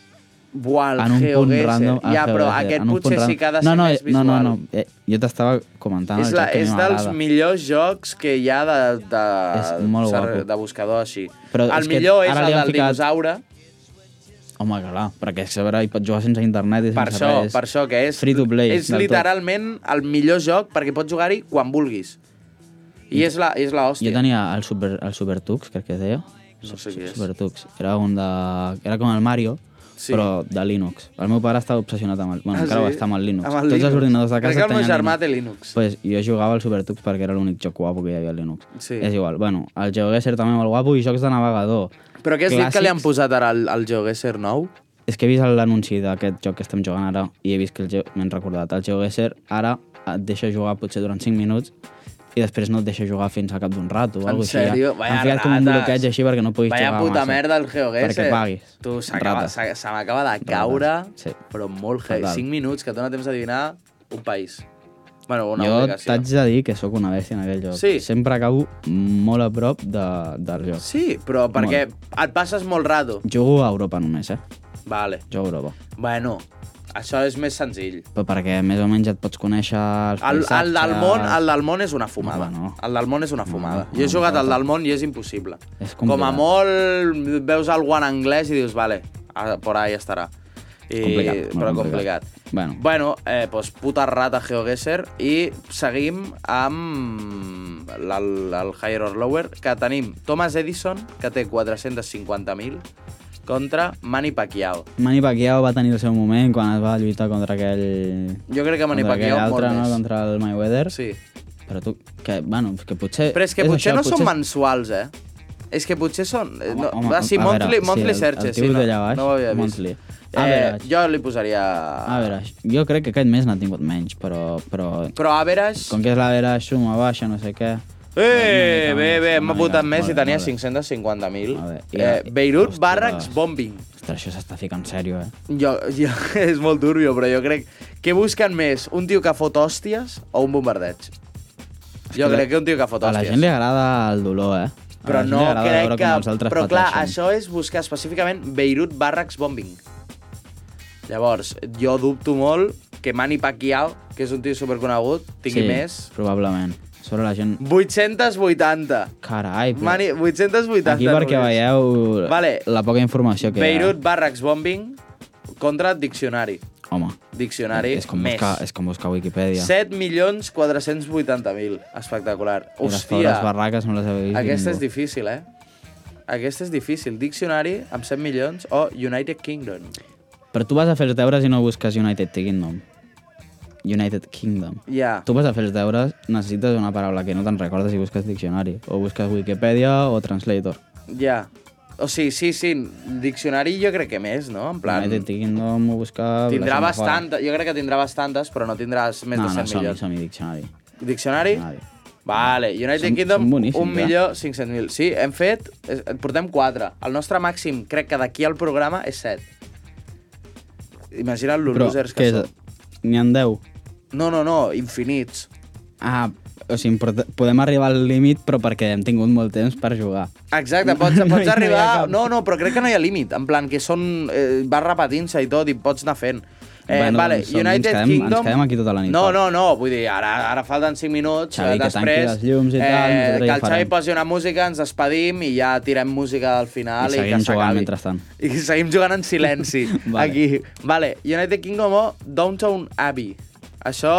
Buah, el en un punt GeoGuessr. random. el Ja, però GeoGuessr, aquest en un potser punt sí que ha de random. ser no, no, més no, No, visual. no, eh, jo t'estava comentant és el la, joc Ah, que a és mi dels m'agrada. millors jocs que hi ha de, de, És molt ser- guapo. de buscador així. Però el és que millor és ara li el han del ficat- dinosaure, Home, clar, perquè a sobre hi pots jugar sense internet i per sense això, res. per això que és... Free to play. És literalment el millor joc perquè pots jugar-hi quan vulguis. I és la, és la Hòstia. hòstia. Jo tenia el Super, el Super Tux, crec que es deia. No sé què és. Super Tux. Era un de... Era com el Mario, Sí. sí. però de Linux. El meu pare estava obsessionat amb el... Bueno, Ah, encara ho sí? està amb el Linux. Amb el Tots Linux. els ordinadors de Crec casa que el meu tenien germà té Linux. Pues jo jugava al Super Tux perquè era l'únic joc guapo que hi havia al Linux. Sí. És igual. Bueno, el GeoGuessr també molt guapo i jocs de navegador. Però què has dit que li han Clàssics. posat ara al, al GeoGuessr nou? És que he vist l'anunci d'aquest joc que estem jugant ara i he vist que el Geo- m'he recordat. El GeoGuessr ara et deixa jugar potser durant 5 minuts i després no et deixa jugar fins a cap d'un rato o En alguna cosa així. sèrio? Vaya Han ficat com un rates. bloqueig així perquè no puguis Vaya jugar puta massa. merda el GeoGuessr. Perquè paguis. Tu, s'acaba- Rates. se se m'acaba de caure, Sí. però molt heavy. Fatal. 5 minuts que et dona temps d'adivinar un país. Bueno, una jo obligació. t'haig de dir que sóc una bèstia en aquell joc. Sí. Sempre acabo molt a prop de, del joc. Sí, però perquè et passes molt rato. Jugo a Europa només, eh? Vale. Jugo a Europa. Bueno, això és més senzill. Però perquè més o menys et pots conèixer els El, el, del paisatges. món, el del món és una fumada. No, no. El del món és una fumada. No, no, jo he jugat al del món i és impossible. És Com a complicat. molt veus algú en anglès i dius, vale, ah, por ahí estarà. I, Complicat, molt però complicat. complicat. Bueno, Bueno, eh, pues puta rata GeoGuessr i seguim amb l- el, el Higher or Lower, que tenim Thomas Edison, que té 450.000, contra Manny Pacquiao. Manny Pacquiao va tenir el seu moment quan es va lluitar contra aquell... Jo crec que Manny contra aquell Pacquiao molt altre, no? Doncs- més. Contra el Mayweather. Sí. Però tu, que, bueno, que potser... Però és que potser Eh, això, no són mensuals, eh? És que potser són... eh, No, home, va, sí, a monthly, veure, sí, monthly el- searches. el tio sí, no, d'allà baix, no ho havia vist. monthly. A Eh, veure. Ah. jo li posaria... A veure, jo crec que aquest mes n'ha tingut menys, però... Però, Però average... com que és la vera suma baixa, no sé què... Eh, bé, bé, una m'ha mica, votat més molt i bé, tenia molt bé. 550.000. i Eh, ara- Beirut, Ostres. Barracks, Bombing. Ostres, això s'està ficant sèrio, eh? Jo, jo, és molt turbio, però jo crec... Què busquen més, un tio que fot hòsties o un bombardeig? Jo que la- crec que un tio que fot A la hòsties. gent li agrada el dolor, eh? Però A la gent no li agrada crec veure que... com els altres Però clar, pateixen. això és buscar específicament Beirut Barracks Bombing. Llavors, jo dubto molt que Manny Pacquiao, que és un tio superconegut, tingui sí, més. probablement. Sobre la gent... 880. Carai, però... Mani, 880. Aquí perquè només. veieu Vale. la poca informació que Beirut Barracks Bombing contra diccionari. hi ha. Home, Diccionari és com, més. buscar, és com buscar a Wikipedia. 7 milions 480.000. Espectacular. I les pobres Hòstia, barraques no les havia vist aquesta és ningú. difícil, eh? Aquesta és difícil. Diccionari amb 7 milions o United Kingdom. Però tu vas a fer els deures i no busques United Kingdom. United Kingdom. Ja. Tu vas a fer els deures, necessites una paraula que no te'n recordes i busques diccionari. O busques Wikipedia o Translator. Ja. O sigui, sí, sí. Diccionari jo crec que més, no? En plan... United Kingdom ho busca... Tindrà la gent fora. bastant, jo crec que tindrà bastantes, però no tindràs més no, de 100 no, som, milions. som diccionari. Diccionari? Vale, United Són- Kingdom, són boníssims, eh? un ja. milió 500.000. Sí, hem fet, és- en portem 4. El nostre màxim, crec que d'aquí al programa, és 7. Imagina't los losers que, què són. és? N'hi ha 10. No, no, no, infinits. Ah, o sigui, però podem arribar al límit, però perquè hem tingut molt temps per jugar. Exacte, pots, No hi- pots no hi ha arribar... cap. No, no, però crec que no hi ha límit. En plan, que són... Eh, va repetint-se i tot, i pots anar fent. Eh, Bueno, vale, som- United ens quedem, Kingdom... Ens quedem aquí tota la nit. No, no, no, vull dir, ara, ara falten 5 minuts, eh, Xavi, que després... tanqui les llums i tal, nosaltres que ja el Xavi farem. posi una música, ens despedim i ja tirem música al final i, que I seguim jugant s'acabi. mentrestant. I seguim jugant en silenci, Vale. vale. aquí. Vale, United Kingdom o Downtown Abbey. Això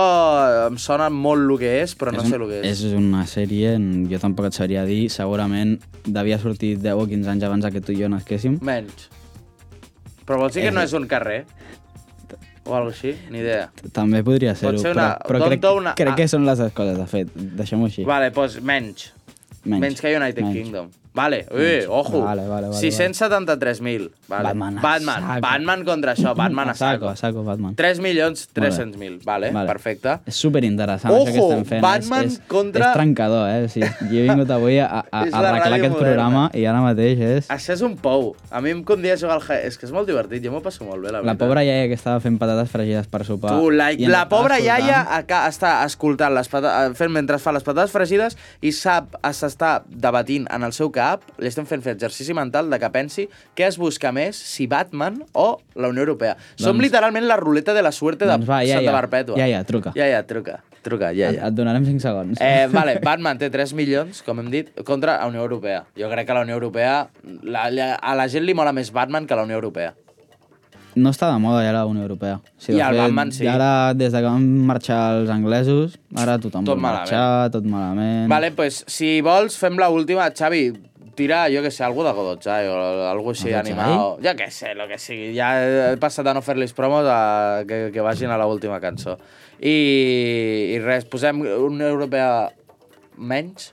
em sona molt el que és, però no un- sé el que és. És una sèrie, en- jo tampoc et sabria dir, segurament devia sortir 10 o 15 anys abans que tu i jo nasquéssim. Menys. Però vols dir que És- no és un carrer? O alguna així? Ni idea. També podria ser-ho, ser però, una- ah. però crec, Downtown a- crec que són les dues coses, de fet. Deixem-ho així. Vale, doncs menys. Menys. Menys, menys que United Menys. menys. Kingdom. Vale, Menys. ui, ojo. Vale, vale, vale, 673.000. Vale. Batman a Batman, saco. Batman contra això, Batman a saco. Mm, A saco, Batman. 3 milions 300.000, vale, Vale. vale, perfecte. És superinteressant Ojo, això que estem fent. Batman és, és, contra- És trencador, eh? O sigui, jo he vingut avui a, a, a És la arreglar ràdio aquest moderna. programa i ara mateix és... Això és un pou. A mi em condia jugar al... hi- És que és molt divertit, jo m'ho passo molt bé, la La veritat. pobra iaia que estava fent patates fregides per sopar. Tu, la, i ens la estava pobra escoltant. iaia acá, està escoltant les patates, fent mentre fa les patates fregides i sap, s'està debatint en el seu cap, li estem fent fer exercici mental de que pensi què es busca més, si Batman o la Unió Europea. Doncs, Som Doncs- literalment la ruleta de la suerte de Doncs va, iaia, Santa Perpètua. iaia, truca. Iaia, truca. Truca, Et, iaia. et donarem 5 segons. Eh, vale, Batman té 3 milions, com hem dit, contra la Unió Europea. Jo crec que la Unió Europea... La, la, a la gent li mola més Batman que la Unió Europea. No està de moda ja la Unió Europea. I el Batman sí. Ara, des de que van marxar els anglesos, ara tothom Tot vol marxar, tot malament. Vale, pues, si vols, fem la última. Xavi, tira, jo que sé, algú de Godotzai o algú així Godotzai? animat. Jo que sé, lo que sigui. Ja he passat a no fer-los promos a que, que vagin a l'última cançó. I, I res, posem una europea menys?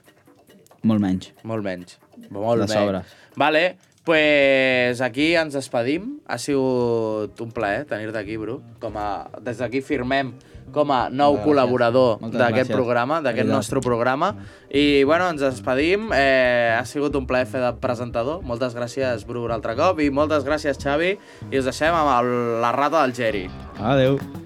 Molt menys. Molt menys. Molt De menys. sobres. Vale, pues aquí ens despedim. Ha sigut un plaer tenir-te aquí, Bru. Com a, des d'aquí firmem com a nou Moltes gràcies. col·laborador Moltes d'aquest gràcies. programa, d'aquest Veritat. nostre programa. I, bueno, ens despedim. Eh, ha sigut un plaer fer de presentador. Moltes gràcies, Bru, un altre cop. I moltes gràcies, Xavi. I us deixem amb el, la rata del Geri. Adeu.